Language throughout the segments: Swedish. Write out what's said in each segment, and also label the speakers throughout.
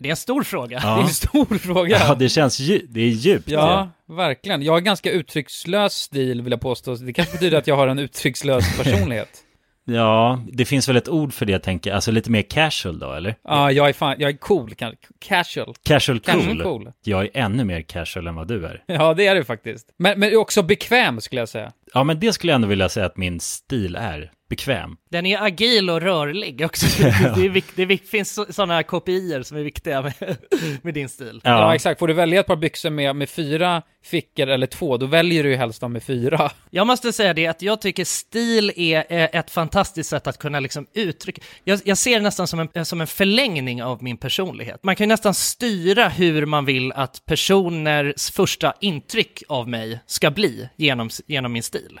Speaker 1: Det är en stor fråga.
Speaker 2: Det är en stor fråga.
Speaker 3: Ja, det känns dju- det är djupt.
Speaker 2: Ja, verkligen. Jag har ganska uttryckslös stil vill jag påstå. Det kanske betyder att jag har en uttryckslös personlighet.
Speaker 3: ja, det finns väl ett ord för det tänker jag. Alltså lite mer casual då, eller?
Speaker 2: Ja, jag är fan, jag är cool, kan- casual.
Speaker 3: Casual cool.
Speaker 2: Casual cool.
Speaker 3: Jag är ännu mer casual än vad du är.
Speaker 2: Ja, det är du faktiskt. Men, men också bekväm skulle jag säga.
Speaker 3: Ja, men det skulle jag ändå vilja säga att min stil är. Bekväm.
Speaker 1: Den är agil och rörlig också. Det, det, är vik- det vik- finns sådana kopior som är viktiga med, med din stil.
Speaker 2: Ja. exakt. Får du välja ett par byxor med, med fyra fickor eller två, då väljer du ju helst de med fyra.
Speaker 1: Jag måste säga det att jag tycker stil är eh, ett fantastiskt sätt att kunna liksom uttrycka. Jag, jag ser det nästan som en, eh, som en förlängning av min personlighet. Man kan ju nästan styra hur man vill att personers första intryck av mig ska bli genom, s- genom min stil.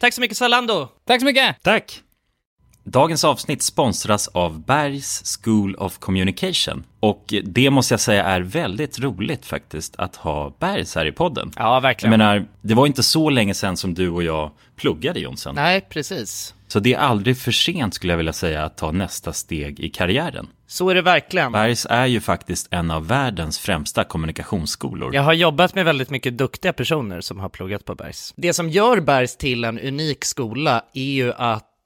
Speaker 1: Tack så mycket Zalando!
Speaker 2: Tack så mycket!
Speaker 3: Tack! Dagens avsnitt sponsras av Bergs School of Communication. Och det måste jag säga är väldigt roligt faktiskt att ha Bergs här i podden.
Speaker 1: Ja, verkligen.
Speaker 3: Jag menar, det var inte så länge sedan som du och jag pluggade Jonsson.
Speaker 1: Nej, precis.
Speaker 3: Så det är aldrig för sent skulle jag vilja säga att ta nästa steg i karriären.
Speaker 1: Så är det verkligen.
Speaker 3: Bergs är ju faktiskt en av världens främsta kommunikationsskolor.
Speaker 1: Jag har jobbat med väldigt mycket duktiga personer som har pluggat på Bergs. Det som gör Bergs till en unik skola är ju att eh,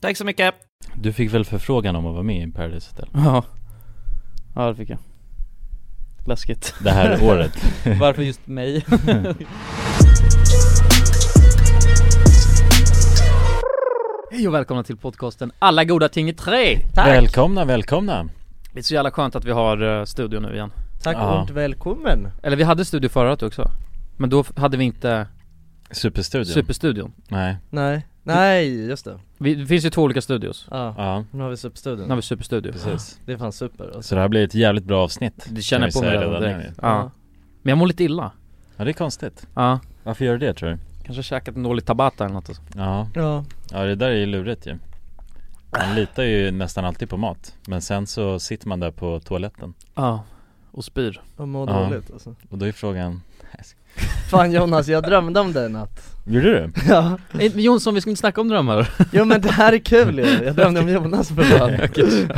Speaker 1: Tack så mycket!
Speaker 3: Du fick väl förfrågan om att vara med i Paradise Hotel?
Speaker 4: Ja Ja det fick jag Läskigt
Speaker 3: Det här året?
Speaker 4: Varför just mig? Hej och välkomna till podcasten Alla goda ting i tre! Tack!
Speaker 5: Välkomna, välkomna.
Speaker 2: Det är så jävla skönt att vi har eh, studio nu igen
Speaker 1: Tack
Speaker 2: Ja.
Speaker 1: och välkommen!
Speaker 2: Eller vi hade studio förra året också Men då f- hade vi inte
Speaker 1: Superstudion.
Speaker 2: Superstudion
Speaker 3: Nej
Speaker 1: Nej, nej just det.
Speaker 2: vi, Det finns ju två olika studios
Speaker 1: Ja.
Speaker 6: Ja.
Speaker 1: Nu har vi superstudion.
Speaker 2: Nu har vi superstudio
Speaker 6: Precis.
Speaker 1: Det är fan super alltså.
Speaker 6: Så det här blir ett jävligt bra avsnitt
Speaker 2: Det
Speaker 6: kan
Speaker 2: känner
Speaker 6: vi
Speaker 2: jag på mig
Speaker 6: säga
Speaker 2: redan
Speaker 6: redan nu.
Speaker 2: direkt ja. Men jag mår lite illa
Speaker 6: Ja det är konstigt
Speaker 2: Ja
Speaker 6: Varför gör du det tror du?
Speaker 2: Kanske käkat en dålig Tabata eller något
Speaker 6: Ja
Speaker 1: Ja.
Speaker 6: Ja det där är ju lurigt ju Man litar ju nästan alltid på mat Men sen så sitter man där på toaletten
Speaker 2: Ja Och spyr
Speaker 1: Jag mår
Speaker 6: Ja.
Speaker 1: dåligt alltså.
Speaker 6: Och då är frågan
Speaker 1: Fan Jonas, jag drömde om dig i natt.
Speaker 6: Gjorde du?
Speaker 1: Ja.
Speaker 2: Nej, Eh, men Jonsson vi ska inte snacka om drömmar
Speaker 1: Jo men det här är kul ju. Jag drömde om Jonas för fan.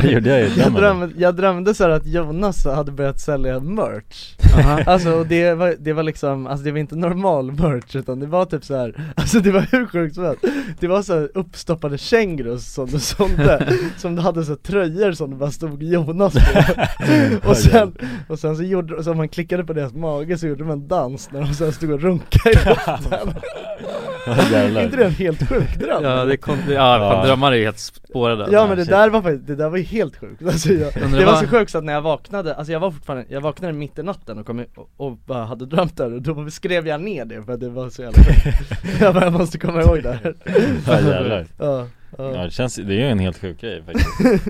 Speaker 6: Det gjorde jag ju
Speaker 1: Jag
Speaker 6: drömmen.
Speaker 1: drömde, jag drömde så här att Jonas hade börjat sälja merch Alltså och det var, det var liksom, alltså det var inte normal merch utan det var typ så här. Alltså det var hur sjukt som helst Det var så här uppstoppade kängurus som du sålde Som du hade så här, tröjor som det bara stod Jonas på Och sen, och sen så gjorde, så om man klickade på deras mage så gjorde de en dans när de sen stod och runkade i luften
Speaker 6: Ja,
Speaker 1: Är
Speaker 6: jävlar.
Speaker 1: inte det en helt sjuk dröm?
Speaker 2: Ja det kom, ja,
Speaker 6: Ja.
Speaker 2: Fan, drömmar är ju helt spårade
Speaker 1: Ja men det
Speaker 6: shit.
Speaker 1: där var faktiskt, det där var ju helt sjukt alltså jag,
Speaker 2: Undrar
Speaker 1: Det var
Speaker 2: vad-
Speaker 1: så sjukt så att när jag vaknade, alltså jag var fortfarande, jag vaknade mitt i natten och kom i, och, och bara hade drömt det här och då skrev jag ner det för att det var så jävla sjukt. Jag bara, jag måste komma ihåg det här
Speaker 6: Ja jävlar
Speaker 1: Ja,
Speaker 6: Ja
Speaker 1: ja,
Speaker 6: det känns, det är ju en helt sjuk grej faktiskt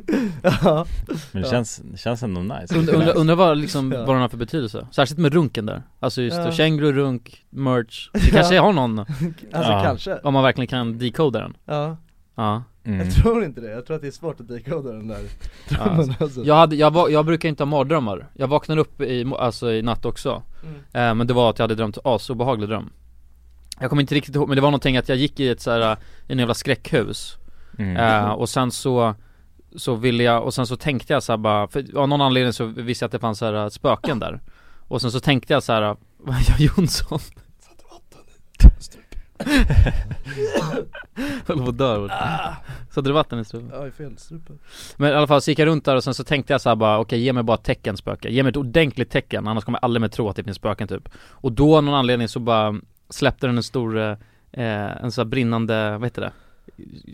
Speaker 1: ja,
Speaker 6: Men det känns, det känns ändå nice
Speaker 2: Undrar undra, undra vad, liksom,
Speaker 1: Ja.
Speaker 2: vad den har för betydelse, särskilt med runken där Alltså just
Speaker 1: Ja.
Speaker 2: det, känguru, runk, merch Det kanske har någon,
Speaker 1: alltså
Speaker 6: Ja.
Speaker 1: kanske
Speaker 2: om man verkligen kan decoda den
Speaker 1: Ja,
Speaker 2: Ja,
Speaker 6: mm.
Speaker 1: jag tror inte det, jag tror att det är svårt att decoda den där drömmen alltså
Speaker 2: jag, hade, jag, va- jag brukar inte ha mardrömmar, jag vaknade upp i, mo- alltså, i natt också
Speaker 1: Mm.
Speaker 2: eh, Men det var att jag hade drömt asobehaglig dröm Jag kommer inte riktigt ihåg, men det var någonting att jag gick i ett så här, eh, i en jävla skräckhus
Speaker 6: Mm.
Speaker 2: Eh, och sen så så ville jag, och sen så tänkte jag så här bara, för av någon anledning så visste jag att det fanns så här eh, spöken där Och sen så tänkte jag så här, eh, vad gör Jonsson? Höll på att dö av
Speaker 1: Ah.
Speaker 2: det. Satte du vatten i strupen?
Speaker 1: Ja, i fel strupe
Speaker 2: Men i alla fall så gick jag runt där och sen så tänkte jag så här bara, okej ge mig bara ett tecken spöke, ge mig ett ordentligt tecken annars kommer jag aldrig mer tro att det finns spöken typ Och då av någon anledning så bara släppte den en stor, eh, en sån här brinnande, vad heter det?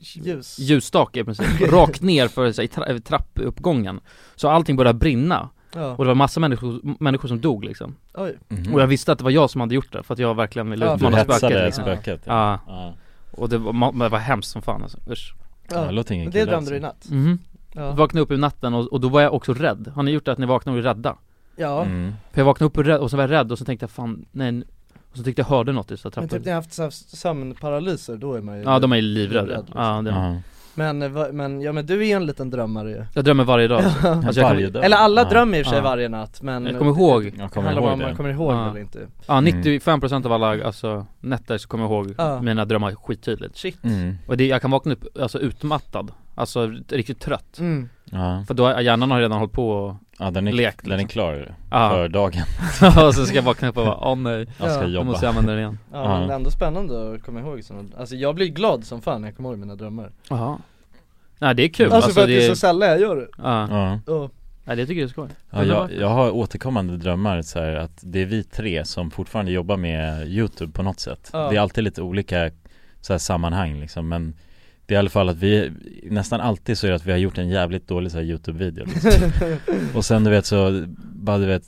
Speaker 1: Ljus
Speaker 2: ljusstake i princip, rakt ner för så här, i tra- trappuppgången Så allting började brinna,
Speaker 1: Ja,
Speaker 2: och det var massa människor, människor som dog liksom
Speaker 1: oj,
Speaker 6: Mhm.
Speaker 2: Och jag visste att det var jag som hade gjort det, för att jag verkligen ville
Speaker 1: Mm. Ja,
Speaker 6: Du
Speaker 2: utmana
Speaker 1: hetsade
Speaker 2: spöket
Speaker 6: hetsade
Speaker 2: liksom.
Speaker 6: spöket ja.
Speaker 2: Ja,
Speaker 6: Ja.
Speaker 2: och det var, ma- men det var hemskt som fan alltså, usch
Speaker 6: Ja, det
Speaker 1: ja.
Speaker 6: låter ingen
Speaker 1: Men
Speaker 6: kul
Speaker 1: det drömde
Speaker 6: alltså.
Speaker 1: du i natt?
Speaker 2: Mhm.
Speaker 1: Ja,
Speaker 2: Vaknade upp ur natten och, och då var jag också rädd, har ni gjort det att ni vaknar och är rädda?
Speaker 1: ja
Speaker 6: mm.
Speaker 2: För jag vaknade upp och, rädd, och så var jag rädd och så tänkte jag fan, nej nu- Och så tyckte jag hörde något i så här
Speaker 1: men
Speaker 2: trappan
Speaker 1: typ när jag har haft så här sömnparalyser, då är man ju
Speaker 2: Ja de är ju livrädda,
Speaker 1: Livrädd, liksom.
Speaker 2: ja, det är. de.
Speaker 6: Ja.
Speaker 1: Men, eh, va- men, ja men du är ju en liten drömmare ju
Speaker 2: Jag drömmer varje dag alltså. Alltså, jag
Speaker 6: Varje
Speaker 2: kommer,
Speaker 6: dag
Speaker 1: Eller alla
Speaker 6: Ja.
Speaker 1: drömmer i och för sig
Speaker 2: Ja.
Speaker 1: varje natt men
Speaker 2: jag kommer ihåg,
Speaker 6: Jag
Speaker 1: Det
Speaker 6: kommer
Speaker 1: handlar bara
Speaker 6: ihåg
Speaker 1: om man
Speaker 6: det
Speaker 1: kommer ihåg
Speaker 2: Ja.
Speaker 1: eller inte
Speaker 2: ja
Speaker 6: Mm.
Speaker 2: 95% av alla alltså, nätter så kommer jag ihåg
Speaker 1: Ja.
Speaker 2: mina drömmar skittydligt
Speaker 1: Shit
Speaker 6: mm.
Speaker 2: Och det, jag kan vakna upp alltså utmattad, alltså riktigt trött
Speaker 1: mm.
Speaker 6: ja.
Speaker 2: För då, har- hjärnan har redan hållit på och,
Speaker 6: ja, den är,
Speaker 2: Lekt,
Speaker 6: den är
Speaker 2: liksom.
Speaker 6: klar
Speaker 2: ja.
Speaker 6: för dagen
Speaker 2: och sen ska jag vakna upp och bara, åh nej,
Speaker 6: Jag ska
Speaker 1: Ja,
Speaker 2: då
Speaker 6: jobba
Speaker 2: måste jag använda den igen
Speaker 1: Ja,
Speaker 6: Ja.
Speaker 1: men det är ändå spännande att komma ihåg sådana Alltså jag blir glad som fan när jag kommer ihåg mina drömmar
Speaker 2: Jaha Nej det är kul,
Speaker 1: Alltså, för att det
Speaker 2: det
Speaker 1: är så sällan jag gör det
Speaker 2: ja.
Speaker 6: Ja.
Speaker 1: Ja,
Speaker 2: Nej det tycker jag är skoj
Speaker 6: Ja, jag, jag har återkommande drömmar så här, att det är vi tre som fortfarande jobbar med YouTube på något sätt
Speaker 1: Ja.
Speaker 6: Det är alltid lite olika så här, sammanhang liksom men Det är i alla fall att vi, nästan alltid så är det att vi har gjort en jävligt dålig så här, YouTube-video liksom. Och sen du vet så, bara du vet,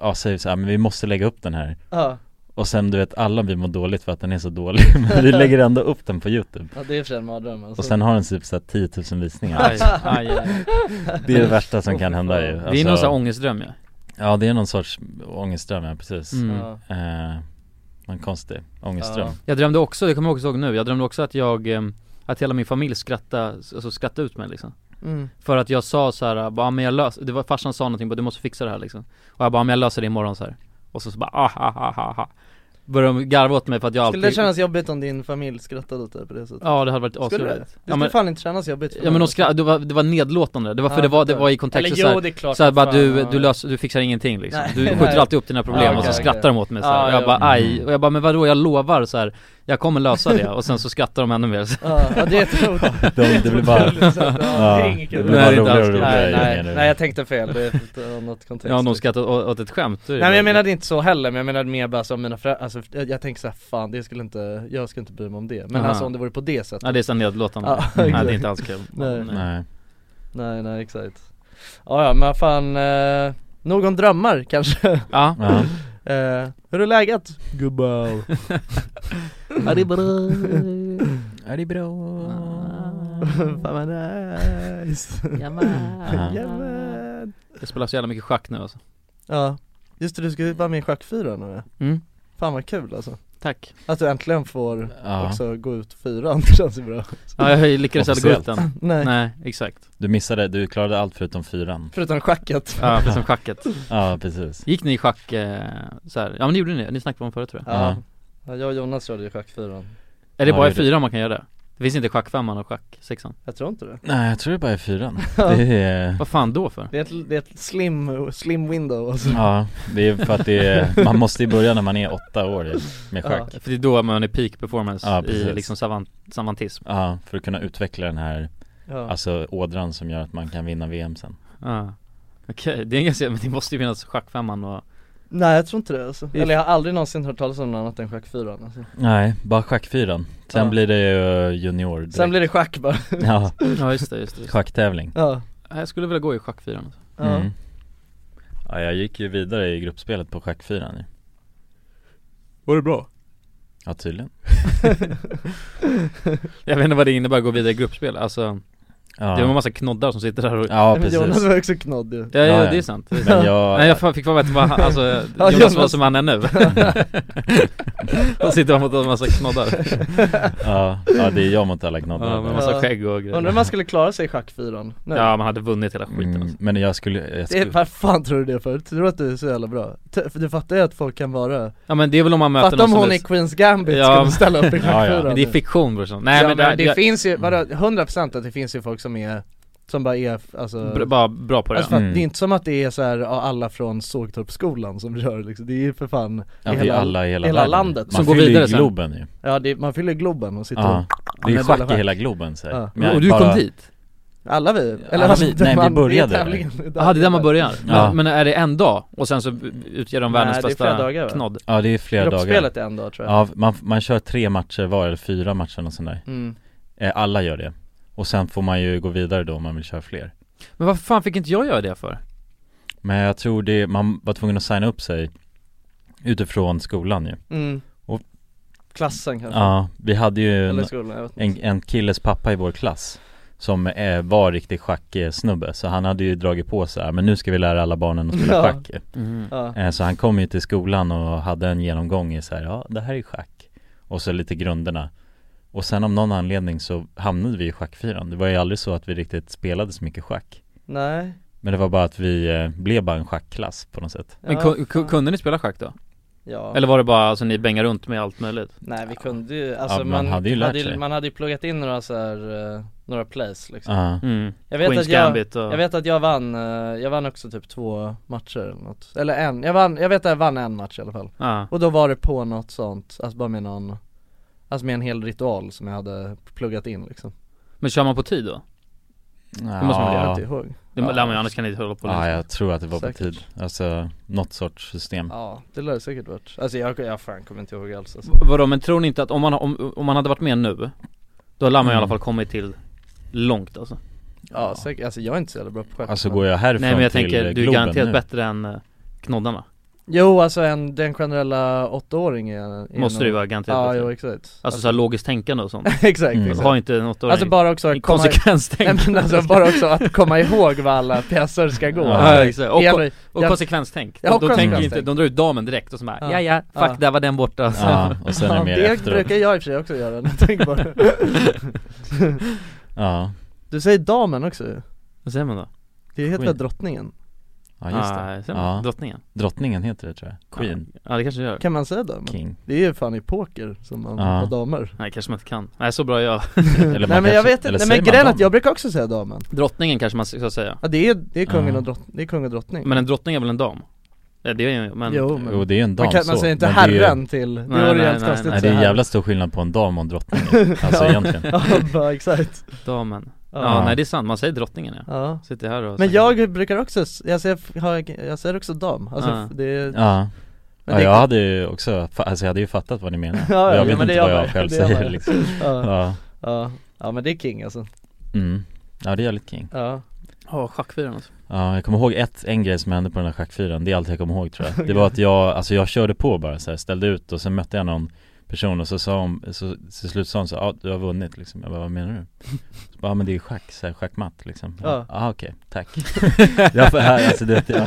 Speaker 6: ja säger så här, men vi måste lägga upp den här
Speaker 1: ja,
Speaker 6: Och sen du vet alla vi mår dåligt för att den är så dålig Men vi lägger ändå upp den på YouTube
Speaker 1: ja det är i och för sig en mardröm alltså.
Speaker 6: Och sen har den typ så här 10 000 visningar
Speaker 2: aj, aj, aj.
Speaker 6: Det är det värsta som
Speaker 1: Åh,
Speaker 6: kan
Speaker 1: fy
Speaker 6: hända
Speaker 1: fan.
Speaker 6: ju
Speaker 2: Det är någon
Speaker 6: Alltså,
Speaker 2: sån här ångestdröm ja.
Speaker 6: Ja det är någon sorts ångestdröm ja, precis
Speaker 2: mm.
Speaker 1: ja.
Speaker 6: Eh, någon konstig ångestdröm.
Speaker 2: Jag drömde också, det kommer jag också ihåg nu, jag drömde också att jag, eh, att hela min familj skrattade, alltså skrattade ut mig liksom
Speaker 1: Mm.
Speaker 2: För att jag sa så här, bara, "Ja, men jag löser, det var farsan sa någonting bara, du måste fixa det här liksom Och jag bara, "Ja, men jag löser det imorgon så här. Och så, så bara, ah, ha, ha, ha, ha. Började de garva åt mig för att jag
Speaker 1: Skulle
Speaker 2: alltid
Speaker 1: det kännas jobbigt om din familj skrattade åt dig på det sättet?
Speaker 2: Ja det hade varit
Speaker 1: Skulle det? Det
Speaker 2: asroligt
Speaker 1: skulle
Speaker 2: Ja men,
Speaker 1: fan inte kännas jobbigt för
Speaker 2: ja, men
Speaker 1: någon.
Speaker 2: de skra- det, var, det var nedlåtande, det var för
Speaker 1: Ja,
Speaker 2: det, var, det
Speaker 1: förstår.
Speaker 2: var i kontexten såhär,
Speaker 1: det är klart
Speaker 2: såhär
Speaker 1: som
Speaker 2: bara
Speaker 1: fan,
Speaker 2: du,
Speaker 1: ja.
Speaker 2: du, löser, du fixar ingenting liksom
Speaker 1: Nej.
Speaker 2: Du
Speaker 1: Nej.
Speaker 2: skjuter alltid upp dina problem
Speaker 1: Ja,
Speaker 2: och så
Speaker 1: okej,
Speaker 2: skrattar
Speaker 1: okej.
Speaker 2: de åt mig så här.
Speaker 1: Ja, Mm.
Speaker 2: Jag
Speaker 1: jo.
Speaker 2: bara aj, och jag bara men vadå jag lovar så här. Jag kommer lösa det och sen så skrattar de ännu mer så,
Speaker 1: Ja, ja, det är ett
Speaker 6: De, det blir bara,
Speaker 1: Ja,
Speaker 6: ja,
Speaker 1: det är
Speaker 6: det
Speaker 1: inget
Speaker 6: blir
Speaker 1: kul
Speaker 2: Nej,
Speaker 6: bara
Speaker 2: det är inte
Speaker 6: roligare
Speaker 2: alls kul.
Speaker 6: och roligare
Speaker 1: Nej,
Speaker 6: ju
Speaker 1: nej,
Speaker 6: mer
Speaker 1: nej
Speaker 6: det-
Speaker 1: jag tänkte fel, det är ett annat kontext
Speaker 2: Ja de skrattar å- åt ett skämt då är det
Speaker 1: Nej men jag
Speaker 2: bara-
Speaker 1: menade inte så heller, men jag menade mer bara som mina föräldrar, alltså jag, jag tänker såhär fan det skulle inte, jag skulle inte bry mig om det Men
Speaker 2: Aha.
Speaker 1: alltså om det vore på det sättet
Speaker 2: Ja det är så nedlåtande,
Speaker 1: Ja,
Speaker 2: nej det är
Speaker 1: exakt.
Speaker 2: inte alls kul
Speaker 1: Nej.
Speaker 6: Nej,
Speaker 1: Nej nej exakt ja, ja men fan, eh, någon drömmar kanske?
Speaker 2: Ja.
Speaker 6: Ja.
Speaker 1: eh, hur är läget? Gubbar Ja det är bra
Speaker 6: Är det bra?
Speaker 1: Fan vad nice
Speaker 6: Ja.
Speaker 1: Jamen.
Speaker 2: Jag spelar så jävla mycket schack nu alltså
Speaker 1: Ja, just det du ska ju vara med i Schackfyran nu
Speaker 2: Mm.
Speaker 1: Fan vad kul alltså
Speaker 2: Tack
Speaker 1: Att du äntligen får
Speaker 6: Ja.
Speaker 1: också gå ut fyran, det känns ju bra
Speaker 2: Ja jag lyckades aldrig gå ut den
Speaker 1: Nej,
Speaker 2: Nej, exakt
Speaker 6: Du missade, du klarade allt förutom fyran
Speaker 1: förutom schacket
Speaker 2: Ja, precis som schacket
Speaker 6: Ja precis
Speaker 2: Gick ni i schack eh, så här? Ja men det gjorde ni, ni snackade om det förut tror jag
Speaker 1: Ja, ja jag och Jonas körde ju schackfyran
Speaker 2: Är det
Speaker 6: Ja,
Speaker 2: bara i
Speaker 6: det gjorde
Speaker 2: fyran man kan göra det? Det finns inte schackfemman och schacksexan
Speaker 1: Jag tror inte det
Speaker 6: Nej jag tror det bara är fyran Det är,
Speaker 2: Vad fan då för?
Speaker 1: Det är ett, det är ett slim, slim window alltså
Speaker 6: ja det är för att det är, man måste ju börja när man är åtta år i- med schack
Speaker 2: För det är då man är peak performance
Speaker 6: Ja,
Speaker 2: i
Speaker 6: precis.
Speaker 2: liksom savant, savantism
Speaker 6: Ja, för att kunna utveckla den här,
Speaker 1: Ja,
Speaker 6: alltså ådran som gör att man kan vinna VM sen
Speaker 2: Ja Okej, det är en ganska, men det måste ju finnas schackfemman och
Speaker 1: Nej jag tror inte det alltså.
Speaker 2: är-
Speaker 1: Eller jag har aldrig någonsin hört talas om något annat än schackfyran alltså.
Speaker 6: Nej, bara schackfyran Sen
Speaker 1: Ja.
Speaker 6: blir det ju eh, junior direkt.
Speaker 1: Sen blir det schack bara
Speaker 6: Ja,
Speaker 2: Ja just det, just det, just det.
Speaker 6: schacktävling
Speaker 1: Ja,
Speaker 2: Ja, Jag skulle vilja gå i schackfyran alltså.
Speaker 1: ja.
Speaker 6: mm. Ja jag gick ju vidare i gruppspelet på schackfyran ju
Speaker 2: Var det bra?
Speaker 6: Ja tydligen
Speaker 2: Jag vet inte vad det innebär att gå vidare i gruppspel, alltså
Speaker 6: Ja,
Speaker 2: Det var en massa knoddar som sitter där och
Speaker 6: ja
Speaker 1: Men Jonas
Speaker 6: precis
Speaker 1: var också knodd ju
Speaker 2: Ja,
Speaker 6: Ja,
Speaker 2: ja,
Speaker 6: ja.
Speaker 2: det är sant det är sant.
Speaker 6: Men jag,
Speaker 2: Nej jag fan fick för mig att det var han- alltså,
Speaker 1: Ja,
Speaker 2: Jonas var
Speaker 1: Jonas.
Speaker 2: som han är nu Och sitter han mot en massa knoddar
Speaker 6: ja, ja det är jag mot alla knoddar
Speaker 2: Ja, med
Speaker 6: men,
Speaker 2: massa skägg och
Speaker 1: Undrar
Speaker 2: grejer
Speaker 1: om man skulle klara sig i schackfyran nu
Speaker 2: Ja man hade vunnit hela skiten
Speaker 6: mm,
Speaker 2: alltså.
Speaker 6: men jag skulle, jag
Speaker 1: det är,
Speaker 6: skulle
Speaker 1: vad fan tror du det för? Tror du att du är så jävla bra? T- för du fattar ju att folk kan vara
Speaker 2: Ja men det är väl om man möter
Speaker 1: Fatta om
Speaker 2: någon som
Speaker 1: hon
Speaker 2: är...
Speaker 1: i Queens Gambit
Speaker 2: Ja, men-
Speaker 1: skulle ställa upp i schackfyran
Speaker 6: Ja, ja.
Speaker 2: Men det är fiktion brorsan, nej
Speaker 1: ja,
Speaker 2: men,
Speaker 1: men
Speaker 2: det,
Speaker 1: det
Speaker 2: jag,
Speaker 1: finns ju, vadå, 100% att det finns ju folk som är, som bara är, alltså
Speaker 2: br- bara bra på det
Speaker 1: Alltså för att
Speaker 6: Mm.
Speaker 1: det är inte som att det är så här, ja, alla från Sågtorpsskolan som gör liksom. det är ju för fan
Speaker 6: ja, vi
Speaker 1: hela-
Speaker 6: alla i hela,
Speaker 1: hela
Speaker 6: världen.
Speaker 1: landet.
Speaker 6: Man
Speaker 2: Som går
Speaker 6: fyller ju
Speaker 2: vidare sen.
Speaker 6: Globen ju
Speaker 1: Ja det, man fyller Globen och sitter
Speaker 6: Ja, det är
Speaker 1: men
Speaker 6: ju schack
Speaker 1: bara
Speaker 6: i
Speaker 1: schack.
Speaker 6: hela Globen så här.
Speaker 1: Ja.
Speaker 6: Men
Speaker 2: Och du
Speaker 6: bara-
Speaker 2: kom dit?
Speaker 1: Alla vi, eller
Speaker 6: Alla vi-
Speaker 1: det-
Speaker 6: nej, vi
Speaker 1: man- det är
Speaker 6: började där.
Speaker 1: tävlingen.
Speaker 2: Jaha det är där man börjar? Men,
Speaker 6: Ja.
Speaker 2: men är det en dag? Och sen så utgör de
Speaker 1: Nej,
Speaker 2: världens
Speaker 1: det är
Speaker 2: bästa
Speaker 1: flera dagar, va?
Speaker 2: knodd?
Speaker 6: Ja det är flera dagar
Speaker 1: Gruppspelet är en dag tror jag
Speaker 6: Ja, man, man kör tre matcher var eller fyra matcher och sånt där
Speaker 1: mm.
Speaker 6: eh, Alla gör det Och sen får man ju gå vidare då om man vill köra fler
Speaker 2: Men varför fan fick inte jag göra det för?
Speaker 6: Men jag tror det, man var tvungen att signa upp sig Utifrån skolan ju
Speaker 1: Mm.
Speaker 6: Och-
Speaker 1: Klassen kanske,
Speaker 6: Ja, vi hade ju
Speaker 1: eller
Speaker 6: en,
Speaker 1: skolan, jag vet
Speaker 6: en,
Speaker 1: inte
Speaker 6: en killes pappa i vår klass Som eh, var riktig schacksnubbe Så han hade ju dragit på sig, men nu ska vi lära alla barnen att spela
Speaker 1: Ja.
Speaker 6: schack ju."
Speaker 1: ja.
Speaker 6: Eh, Så han kom ju till skolan och hade en genomgång i så här, ja det här är schack Och så lite grunderna Och sen om någon anledning så hamnade vi i schackfyran Det var ju aldrig så att vi riktigt spelade så mycket schack
Speaker 1: Nej,
Speaker 6: Men det var bara att vi eh, blev bara en schackklass på något sätt
Speaker 2: Men
Speaker 1: Ja,
Speaker 2: ku- ku-
Speaker 1: fan.
Speaker 2: kunde ni spela schack då?
Speaker 1: ja.
Speaker 2: Eller var det bara, alltså ni bängar runt med allt möjligt?
Speaker 1: nej vi kunde ju, alltså
Speaker 6: Ja,
Speaker 1: man, hade ju
Speaker 6: lärt
Speaker 1: hade,
Speaker 6: sig.
Speaker 1: Man hade ju pluggat in några så här, eh, några plays liksom
Speaker 6: Ja,
Speaker 2: Mm.
Speaker 1: Jag vet
Speaker 2: Queen's
Speaker 1: att jag,
Speaker 2: Gambit och...
Speaker 1: Jag vet att jag vann, eh, jag vann också typ två matcher eller något, eller en, jag vann, jag vet att jag vann en match i alla fall
Speaker 2: Ja.
Speaker 1: Och då var det på något sånt, alltså bara med någon, alltså med en hel ritual som jag hade pluggat in liksom
Speaker 2: Men kör man på tid då?
Speaker 6: ja.
Speaker 2: måste
Speaker 1: Jag
Speaker 2: man väl
Speaker 1: kommer
Speaker 6: ja.
Speaker 1: inte ihåg
Speaker 2: Det
Speaker 1: Ja.
Speaker 2: lär man ju, annars kan ni inte hålla på länge.
Speaker 6: jag tror att det var på
Speaker 1: Säkert.
Speaker 6: tid Alltså, något sorts system
Speaker 1: Ja, det lär det säkert varit, alltså jag, jag fan kommer inte ihåg alls alltså.
Speaker 2: V- Vadå, men tror ni inte att om man, om, om man hade varit med nu, då lär man ju i alla
Speaker 6: Mm.
Speaker 2: fall kommit till långt alltså.
Speaker 1: Ja säkert, alltså jag är inte så jävla bra på schack
Speaker 6: Alltså
Speaker 1: men-
Speaker 6: går jag härifrån
Speaker 2: Nej men jag
Speaker 6: till
Speaker 2: tänker, du är
Speaker 6: Globen
Speaker 2: garanterat
Speaker 6: nu?
Speaker 2: bättre än eh, knoddarna.
Speaker 1: Jo alltså en, den generella åttaåring är, är
Speaker 2: Måste
Speaker 1: nog-
Speaker 2: du ju vara garanterat
Speaker 1: Ja,
Speaker 2: bättre.
Speaker 1: jo exakt
Speaker 2: Alltså såhär logiskt tänkande och sånt.
Speaker 1: exakt,
Speaker 6: Mm.
Speaker 1: exakt
Speaker 2: Har ju inte något
Speaker 1: Alltså bara också att komma, nej,
Speaker 2: konsekvenstänkande.
Speaker 1: men alltså bara också att komma ihåg var alla pjäser ska gå
Speaker 2: Ja, exakt. Och
Speaker 1: Det
Speaker 2: ko-
Speaker 1: gäller-
Speaker 2: Och
Speaker 1: jag-
Speaker 2: konsekvenstänk.
Speaker 1: Ja,
Speaker 2: de
Speaker 1: och
Speaker 2: de tänker ju
Speaker 1: konsekvenstänk.
Speaker 2: inte, de drar ut damen direkt och så bara,
Speaker 1: Ja.
Speaker 2: ja ja, fuck
Speaker 1: Ja.
Speaker 2: där var den borta. Så.
Speaker 6: Ja, och sen är det mer
Speaker 1: det
Speaker 6: efteråt
Speaker 1: brukar jag i och för sig också göra när jag tänker på det
Speaker 6: Ja,
Speaker 1: Du säger damen också ju.
Speaker 2: Vad säger man då?
Speaker 1: Det heter
Speaker 6: Queen.
Speaker 1: väl drottningen?
Speaker 6: ja just det
Speaker 2: Ah, säger man?
Speaker 6: ja.
Speaker 2: Drottningen?
Speaker 6: Drottningen heter det tror jag, Queen,
Speaker 2: Ja, ja det kanske det gör.
Speaker 1: Kan man säga damen?
Speaker 6: King
Speaker 1: Det är ju fan i poker som man
Speaker 6: Ja.
Speaker 1: har damer
Speaker 2: Nej kanske man inte kan. Nej så bra jag.
Speaker 6: Eller
Speaker 1: Nej
Speaker 6: man
Speaker 1: men jag
Speaker 6: kanske-
Speaker 1: vet
Speaker 6: eller
Speaker 1: inte, nej
Speaker 6: säger
Speaker 1: men
Speaker 6: man
Speaker 1: grejen är att
Speaker 6: dam?
Speaker 1: jag brukar också säga damen
Speaker 2: Drottningen kanske man ska säga.
Speaker 1: Ja det är, det är kungen
Speaker 6: Ja.
Speaker 1: och drottning, det är kung och drottning
Speaker 2: Men en drottning är väl en dam? Ja, Det är ju, men...
Speaker 1: Jo men,
Speaker 6: Jo det är ju en dam
Speaker 1: man, kan, man
Speaker 6: så,
Speaker 1: säger inte
Speaker 6: men det är ju-
Speaker 1: herren till, det
Speaker 2: Nej,
Speaker 1: vore
Speaker 2: nej,
Speaker 1: jävligt
Speaker 2: nej,
Speaker 1: konstigt
Speaker 6: Nej
Speaker 1: att
Speaker 6: det är
Speaker 1: säga
Speaker 6: en jävla stor skillnad på en dam och en drottning Alltså egentligen
Speaker 1: herren. Ja bara, exakt
Speaker 2: Damen. Ja,
Speaker 1: Ja.
Speaker 2: nej det är sant, man säger drottningen ja.
Speaker 1: Ja
Speaker 2: Sitter här och
Speaker 1: men
Speaker 6: Alltså,
Speaker 2: snackar.
Speaker 1: jag brukar också, s- jag säger, har- jag säger också dam, alltså
Speaker 2: Ja.
Speaker 1: det är
Speaker 6: Ja,
Speaker 1: men
Speaker 6: ja
Speaker 1: det-
Speaker 6: jag hade ju också, fa- alltså jag hade ju fattat vad ni menar
Speaker 1: ja,
Speaker 6: Jag
Speaker 1: ja,
Speaker 6: vet
Speaker 1: men det
Speaker 6: inte
Speaker 1: gör
Speaker 6: vad
Speaker 1: man
Speaker 6: jag
Speaker 1: ju.
Speaker 6: själv
Speaker 1: Det gör man
Speaker 6: säger
Speaker 1: ju.
Speaker 6: liksom
Speaker 1: ja,
Speaker 6: Ja,
Speaker 1: ja, ja men det är king alltså
Speaker 6: mm. ja det är jävligt king
Speaker 1: Ja
Speaker 2: Ja, schackfyran alltså.
Speaker 6: Ja, jag kommer ihåg ett, en grej som hände på den här schackfyran, det är allt jag kommer ihåg tror jag Det var att jag, alltså jag körde på bara så här, ställde ut och sen mötte jag någon person och så sa hon, så till slut sa hon så ja ah, du har vunnit liksom Jag bara, vad menar du? Så bara, ah, men det är schack, så här, schackmatt liksom Ja,
Speaker 1: Ja.
Speaker 6: ah. okej, tack jag, får- alltså, du vet, jag,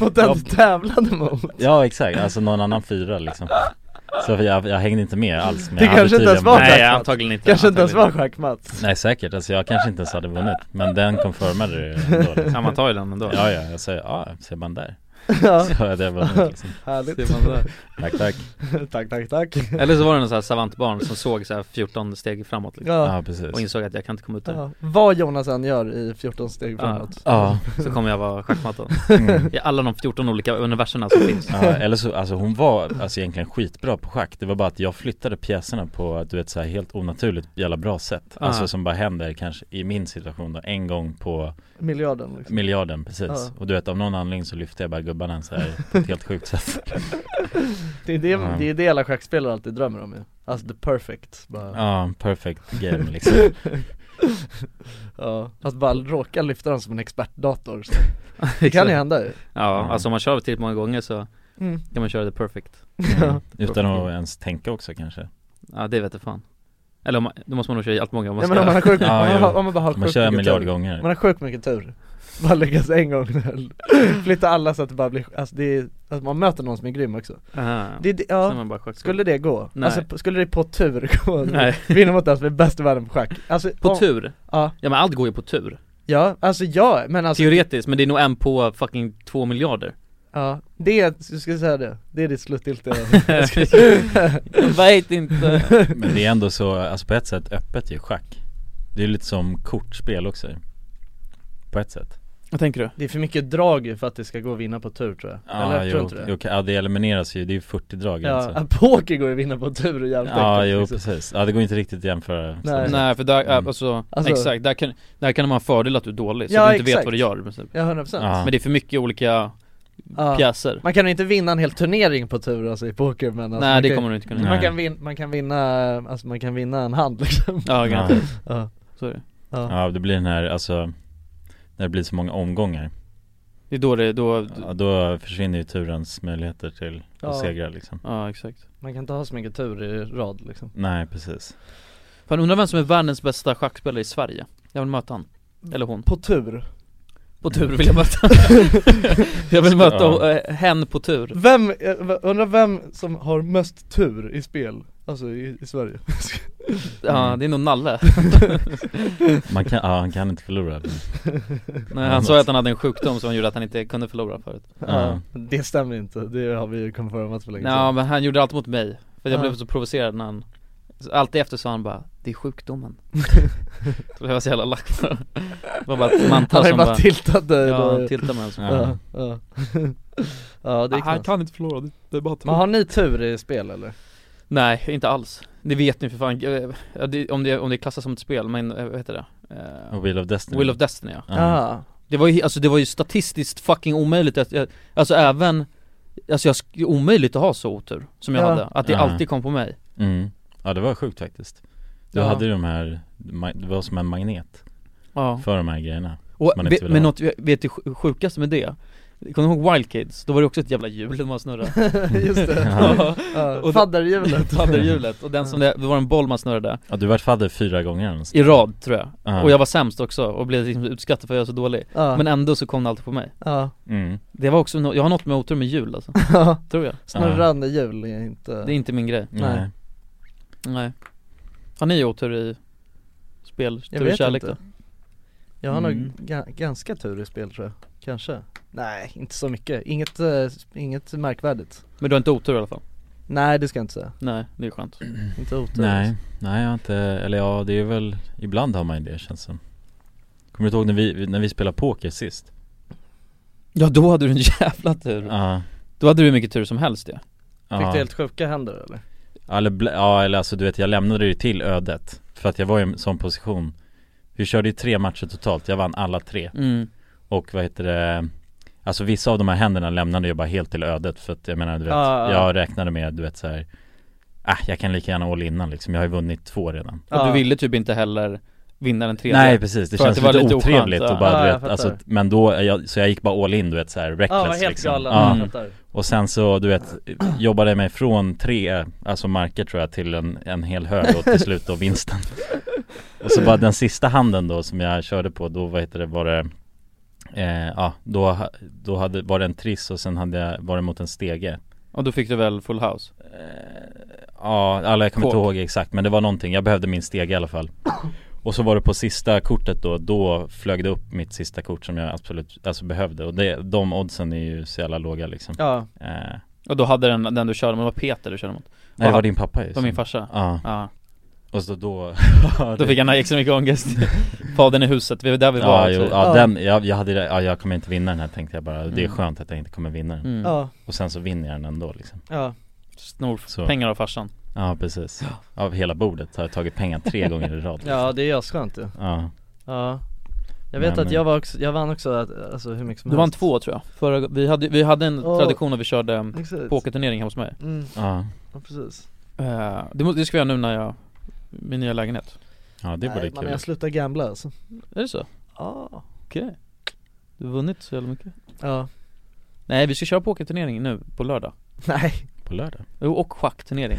Speaker 1: Mot den du tävlade mot
Speaker 6: Ja exakt, alltså någon annan fyra liksom Så jag, jag hängde inte med alls men
Speaker 1: Det
Speaker 6: jag hade
Speaker 1: kanske inte ens
Speaker 6: tydligen-
Speaker 1: var
Speaker 6: Nej,
Speaker 1: schack.
Speaker 2: Nej
Speaker 1: tack.
Speaker 2: antagligen inte
Speaker 1: Kanske inte ens var
Speaker 2: antagligen
Speaker 1: schackmatt
Speaker 6: nej säkert, alltså jag kanske inte ens hade vunnit Men den confirmade det ändå
Speaker 2: inte.
Speaker 6: liksom.
Speaker 2: Ja man tar ju den ändå
Speaker 6: Ja ja, jag säger, ja ah, ser man där
Speaker 1: Ja,
Speaker 6: Så hade jag vunnit liksom
Speaker 1: härligt
Speaker 2: Ser man där.
Speaker 6: Tack tack
Speaker 1: Tack tack tack
Speaker 2: Eller så var det någon sån här savantbarn som såg så här 14 steg framåt liksom.
Speaker 6: Ja
Speaker 1: Ja,
Speaker 6: precis
Speaker 2: Och insåg att jag kan inte komma ut där
Speaker 1: ja. Vad Jonas än gör i 14 steg
Speaker 2: Ja.
Speaker 1: framåt
Speaker 6: Ja,
Speaker 2: Så kommer jag vara schackmatta
Speaker 6: mm.
Speaker 2: I alla de 14 olika universerna som finns
Speaker 6: ja, eller så, alltså hon var alltså egentligen skitbra på schack Det var bara att jag flyttade pjäserna på, du vet så här helt onaturligt jävla bra sätt
Speaker 2: Ah.
Speaker 6: Alltså som bara händer kanske i min situation då, en gång på
Speaker 1: Miljarden liksom
Speaker 6: miljarden precis
Speaker 1: Ja.
Speaker 6: Och du vet av någon anledning så lyfte jag bara gubbarna så här på ett helt sjukt sätt
Speaker 1: Det är det,
Speaker 6: Ja.
Speaker 1: det, är det alla schackspelare alltid drömmer om ju Alltså the perfect bara. Ja.
Speaker 6: Ja, perfect game liksom
Speaker 1: Att bara råka lyfta den som en expertdator så. Det kan ju hända ju
Speaker 2: Ja, alltså om man kör tillräckligt många gånger så
Speaker 1: mm.
Speaker 2: kan man köra det perfect
Speaker 6: mm. Utan att ens tänka också kanske
Speaker 2: Ja det vet jag fan Eller om man, då måste man nog köra allt många om man
Speaker 1: Ja
Speaker 2: ska
Speaker 1: men om man har sjukt
Speaker 6: Ja,
Speaker 1: om man,
Speaker 6: jo.
Speaker 1: har- om man bara har
Speaker 6: Om Man
Speaker 1: sjukt
Speaker 6: kör en
Speaker 1: mycket
Speaker 6: miljard
Speaker 1: tur.
Speaker 6: gånger
Speaker 1: Man har sjukt mycket tur Bara lyckas en gång Flytta alla så att det bara blir, alltså det är, alltså man möter någon som är grym också
Speaker 2: Aha.
Speaker 1: det, är det,
Speaker 2: Så är
Speaker 1: ja,
Speaker 2: man bara schack-
Speaker 1: skulle det gå?
Speaker 2: Nej.
Speaker 1: Alltså p- skulle det på tur gå?
Speaker 2: Nej.
Speaker 1: Vinna mot den som är bäst i världen på schack? Alltså,
Speaker 2: På
Speaker 1: om-
Speaker 2: tur?
Speaker 1: Ja,
Speaker 2: Ja men allt går ju på tur
Speaker 1: ja, alltså ja, men alltså
Speaker 2: Teoretiskt, men det är nog en på fucking två miljarder
Speaker 1: Ja, det, är- jag skulle säga det, det är ditt eh, slutgiltiga
Speaker 2: Jag vet inte
Speaker 6: Men det är ändå så, alltså på ett sätt öppet ju schack Det är lite som kortspel också På ett sätt
Speaker 2: Vad tänker du?
Speaker 1: Det är för mycket drag ju för att det ska gå att vinna på tur tror jag, eller tror
Speaker 6: jo,
Speaker 1: inte
Speaker 6: jo,
Speaker 1: det?
Speaker 6: ja det elimineras ju, det är ju 40 drag
Speaker 1: Ja,
Speaker 6: alltså.
Speaker 1: att poker går att vinna på tur och jävligt
Speaker 6: Ja, jo
Speaker 1: liksom.
Speaker 6: precis. Ja det går inte riktigt att jämföra
Speaker 1: Nej.
Speaker 2: Nej för där,
Speaker 6: Mm.
Speaker 2: alltså,
Speaker 1: Alltså-
Speaker 2: exakt, där kan, där kan man ha en fördel att du är dålig så
Speaker 1: Ja,
Speaker 2: du inte vet
Speaker 1: exakt.
Speaker 2: vad du gör men så-
Speaker 1: Ja, 100% procent
Speaker 6: Ja.
Speaker 2: Men det är för mycket olika pjäser
Speaker 1: Man kan ju inte vinna en hel turnering på tur alltså i poker men alltså,
Speaker 2: Nej
Speaker 1: man
Speaker 2: det
Speaker 1: kan,
Speaker 2: kommer du inte kunna
Speaker 6: Nej.
Speaker 2: göra
Speaker 1: man kan, vin, man kan vinna, alltså man kan vinna en hand liksom
Speaker 2: Ja
Speaker 6: ja.
Speaker 2: garanterat,
Speaker 1: Ja,
Speaker 2: så är det
Speaker 1: ja.
Speaker 6: ja, det blir den här, alltså När det blir så många omgångar
Speaker 2: Det är då det, då,
Speaker 6: ja, Då försvinner ju turens möjligheter till att
Speaker 1: Ja.
Speaker 6: segra liksom
Speaker 2: ja exakt
Speaker 1: man kan inte ha så mycket tur i rad liksom
Speaker 6: Nej precis
Speaker 2: Fan undrar vem som är världens bästa schackspelare i Sverige? Jag vill möta han, eller hon
Speaker 1: På tur?
Speaker 2: På tur vill jag möta Jag vill möta
Speaker 6: Ja.
Speaker 2: eh, hen på tur
Speaker 1: Vem, eh, v- undrar vem som har mest tur i spel? Alltså i, i Sverige Mm.
Speaker 2: Ja det är nog Nalle
Speaker 6: Man kan, ja han kan inte förlora
Speaker 2: Nej, Han sa ju att han hade en sjukdom som gjorde att han inte kunde förlora förut
Speaker 6: Ja.
Speaker 1: Ja, Det stämmer inte, det har vi ju confirmat för länge
Speaker 2: Nej men han gjorde allt mot mig, för jag
Speaker 1: Ja.
Speaker 2: blev så provocerad när han så Alltid efter sa han bara 'Det är sjukdomen' Så jag var så jävla lack på honom. Det var bara ett
Speaker 1: Han
Speaker 2: mantra
Speaker 1: har ju
Speaker 2: som
Speaker 1: bara
Speaker 2: bara
Speaker 1: tiltat dig
Speaker 2: Ja,
Speaker 1: då
Speaker 2: han tiltade mig alltså.
Speaker 6: ja.
Speaker 1: Ja, ja. ja det är knasigt.
Speaker 7: kan inte förlora, det är bara
Speaker 1: Men har ni tur i spel eller?
Speaker 2: Nej, inte alls Det vet ni för fan, Eh, ja, det, om, det, om det klassas som ett spel, men eh, vad heter det? Eh,
Speaker 6: Och Wheel of Destiny
Speaker 2: Will of Destiny ja
Speaker 6: Ja.
Speaker 1: Ja,
Speaker 2: Det var ju, alltså det var ju statistiskt fucking omöjligt att, jag, alltså även Alltså jag, sk- omöjligt att ha så otur som jag
Speaker 1: Ja.
Speaker 2: hade, att det
Speaker 6: Ja.
Speaker 2: alltid kom på mig
Speaker 6: mm. ja det var sjukt faktiskt Du
Speaker 1: Ja.
Speaker 6: hade ju de här, ma- det var som en magnet
Speaker 2: Ja,
Speaker 6: för de här grejerna
Speaker 2: och
Speaker 6: man inte
Speaker 2: ve-
Speaker 6: vill
Speaker 2: men
Speaker 6: ha.
Speaker 2: något, vet du sj- sjukaste med det? Kommer du ihåg Wild Kids? Då var det också ett jävla hjul man snurrade
Speaker 1: just det.
Speaker 6: Ja,
Speaker 1: Ja.
Speaker 2: Och-
Speaker 1: Fadderhjulet.
Speaker 2: Fadderhjulet, och den som det, det var en boll man snurrade
Speaker 6: ja du vart fadder fyra gånger eller nåt sånt.
Speaker 2: I rad tror jag,
Speaker 6: Ja.
Speaker 2: och jag var sämst också och blev liksom utskattad för att jag var så dålig
Speaker 1: Ja.
Speaker 2: Men ändå så kom det alltid på mig
Speaker 1: ja.
Speaker 6: mm.
Speaker 2: Det var också, no- jag har något med otur med jul alltså, tror jag
Speaker 1: Snurrande hjul är inte...
Speaker 2: Det är inte min grej,
Speaker 1: Nej.
Speaker 6: Nej.
Speaker 2: nej Har ni otur i spel,
Speaker 1: Jag
Speaker 2: tur i
Speaker 1: vet
Speaker 2: kärlek
Speaker 1: inte.
Speaker 2: då?
Speaker 1: Jag har nog
Speaker 6: Mm.
Speaker 1: ga- ganska tur i spel tror jag. Kanske. Nej, inte så mycket. Inget, eh, inget märkvärdigt.
Speaker 2: Men du har inte otur i alla fall?
Speaker 1: Nej det ska jag inte säga.
Speaker 2: Nej, det är skönt
Speaker 1: Inte otur.
Speaker 6: Nej, nej jag har inte, eller ja det är väl, ibland har man ju det känns som Kommer du ihåg när vi, när vi spelade poker sist?
Speaker 2: Ja då hade du en jävla tur
Speaker 6: Ja,
Speaker 2: Då hade du hur mycket tur som helst ja.
Speaker 6: ja.
Speaker 1: Fick du helt sjuka händer eller?
Speaker 6: Eller, bl- ja eller alltså du vet jag lämnade det ju till ödet För att jag var i en sån position Vi körde ju tre matcher totalt, jag vann alla tre
Speaker 2: mm.
Speaker 6: Och vad heter det Alltså vissa av de här händerna lämnade jag bara helt till ödet För att jag menar du vet,
Speaker 1: Ja, ja.
Speaker 6: jag räknade med du vet så här. Ah, jag kan lika gärna all innan liksom, jag har ju vunnit två redan
Speaker 2: Och
Speaker 1: Ja.
Speaker 2: du ville typ inte heller vinna den tredje
Speaker 6: Nej precis, det
Speaker 2: För att
Speaker 6: känns
Speaker 2: det var
Speaker 6: lite,
Speaker 2: lite oskönt,
Speaker 6: otrevligt
Speaker 2: ja.
Speaker 6: och bara
Speaker 1: Ja,
Speaker 6: du
Speaker 1: jag
Speaker 6: vet,
Speaker 1: fattar.
Speaker 6: alltså, men då, jag, så jag gick bara all in du vet såhär reckless
Speaker 8: Ja, var helt
Speaker 6: liksom.
Speaker 8: galen.
Speaker 6: Ja.
Speaker 8: jag
Speaker 1: Mm.
Speaker 8: fattar.
Speaker 6: Och sen så du vet, jobbade jag mig från tre, alltså marker tror jag till en, en hel hög och till slut då vinsten Och så bara den sista handen då som jag körde på, då vad heter det, var det eh, Ja, då, ha- då hade, var det en triss och sen hade jag, var det mot en stege Eh,
Speaker 2: Och då fick du väl full house?
Speaker 6: Ja, alla jag kommer inte
Speaker 2: Kåk.
Speaker 6: ihåg exakt men det var någonting, jag behövde min stege i alla fall Och så var det på sista kortet då, då flög det upp mitt sista kort som jag absolut, alltså behövde Och det, de oddsen är ju så jävla låga liksom
Speaker 2: Ja
Speaker 6: eh,
Speaker 2: Och då hade den, den du körde mot, det var Peter du körde mot
Speaker 6: Nej det var din pappa ju
Speaker 2: Det var
Speaker 6: som-
Speaker 2: min farsa
Speaker 6: Ja,
Speaker 2: Ja,
Speaker 6: och så då
Speaker 2: då fick han extra mycket ångest Fadern i huset, vi var där vi var
Speaker 6: Ja,
Speaker 2: också.
Speaker 6: jo,
Speaker 1: Ja.
Speaker 6: ja den, jag, jag hade det- ja, jag kommer inte vinna den här tänkte jag bara, det är
Speaker 2: Mm.
Speaker 6: skönt att jag inte kommer vinna den
Speaker 2: mm.
Speaker 1: Ja,
Speaker 6: Och sen så vinner jag den ändå liksom
Speaker 1: ja
Speaker 2: Snor
Speaker 6: Så.
Speaker 2: pengar av farsan
Speaker 6: Ja precis, av hela bordet har jag tagit pengar tre gånger i rad liksom.
Speaker 1: Ja det är asskönt ju
Speaker 6: ja.
Speaker 1: Ja Jag vet
Speaker 6: Men,
Speaker 1: att jag var också, jag vann också att- alltså hur mycket som
Speaker 2: Du vann
Speaker 1: helst
Speaker 2: två tror jag, Förra, vi, hade, vi hade en
Speaker 1: Åh.
Speaker 2: tradition när vi körde um,
Speaker 1: Exakt.
Speaker 2: pokerturnering hemma hos mig
Speaker 1: Mm,
Speaker 6: ja,
Speaker 1: ja, precis
Speaker 2: Eh, det, må- det ska vi göra nu när jag, min nya lägenhet
Speaker 6: ja det vore
Speaker 1: Nej, men
Speaker 6: kul
Speaker 1: jag slutar gambla alltså
Speaker 2: Är det så?
Speaker 6: Ah.
Speaker 1: Ja
Speaker 2: Okej Du har vunnit så jävla mycket
Speaker 1: Ja
Speaker 2: Nej vi ska köra pokerturnering nu på lördag
Speaker 1: Nej
Speaker 6: på lördag
Speaker 2: Jo och schackturnering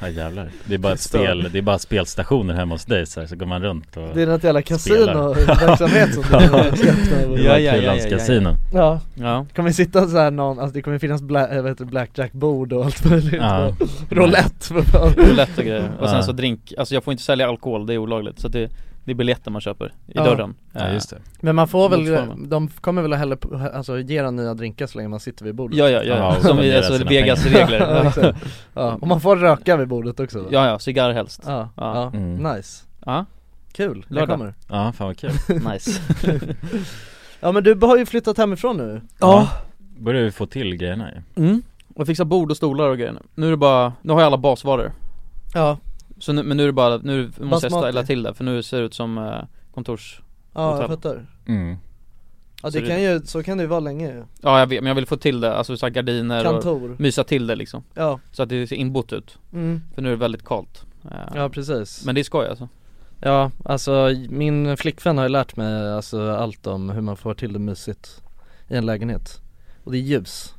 Speaker 6: Ja jävlar, det är bara ett spel, det är bara spelstationer hemma hos dig så, här, så går man runt och
Speaker 1: Det är något jävla
Speaker 6: Spelar.
Speaker 1: kasinoverksamhet som du har skaffat
Speaker 6: det
Speaker 1: över.
Speaker 6: är
Speaker 2: Ja, ja,
Speaker 6: bara
Speaker 2: ja,
Speaker 6: Kulans
Speaker 2: ja, ja.
Speaker 6: kasino
Speaker 1: Ja,
Speaker 2: Ja
Speaker 1: det kommer sitta så här någon, alltså det kommer finnas bla, äh, vad heter det, blackjack-bord och allt möjligt
Speaker 6: Ja.
Speaker 1: Roulette för fan
Speaker 2: Roulette och grejer, och
Speaker 6: Ja.
Speaker 2: sen så drink, alltså jag får inte sälja alkohol, det är olagligt så att det, det är biljetter man köper i
Speaker 1: Ja.
Speaker 2: dörren
Speaker 6: Ja just det,
Speaker 1: Men man får väl,
Speaker 2: Motsvarande.
Speaker 1: de kommer väl hellre, på- alltså ge den nya drinkar så länge man sitter vid bordet
Speaker 2: Ja ja ja,
Speaker 6: Ja, och
Speaker 2: som i
Speaker 6: spendera
Speaker 2: alltså
Speaker 6: sina
Speaker 2: Vegas
Speaker 6: pengar.
Speaker 2: regler
Speaker 1: Ja,
Speaker 2: ja.
Speaker 1: exakt. ja, och man får röka vid bordet också va?
Speaker 2: ja ja, cigarr helst
Speaker 1: ja,
Speaker 2: Ja.
Speaker 1: ja.
Speaker 6: Mm.
Speaker 1: nice
Speaker 2: Ja,
Speaker 1: Kul, jag
Speaker 2: Lördag.
Speaker 1: kommer
Speaker 6: ja fan vad kul
Speaker 2: nice
Speaker 1: Ja men du har ju flyttat hemifrån nu
Speaker 2: Ja.
Speaker 6: Börjar vi få till grejerna ju
Speaker 2: mm. Och jag fixar bord och stolar och grejer nu. Nu är det bara, nu har jag alla basvaror
Speaker 1: Ja,
Speaker 2: Så nu, men nu är det bara, nu måste
Speaker 1: Basmati.
Speaker 2: jag styla till det för nu ser det ut som eh, kontors
Speaker 1: ja jag
Speaker 2: Hotell.
Speaker 1: fattar
Speaker 6: mm.
Speaker 1: Ja
Speaker 2: Så
Speaker 1: det
Speaker 2: det-
Speaker 1: kan ju, så kan det ju vara länge ju.
Speaker 2: Ja jag vet, men jag vill få till det, alltså så här gardiner och
Speaker 1: Kantor,
Speaker 2: mysa till det liksom
Speaker 1: ja,
Speaker 2: Så att det ser inbott ut,
Speaker 1: mm.
Speaker 2: för nu är det väldigt kallt Eh,
Speaker 1: ja precis
Speaker 2: Men det är skoj alltså
Speaker 1: Ja, alltså min flickvän har ju lärt mig alltså, allt om hur man får till det mysigt i en lägenhet Och det är ljus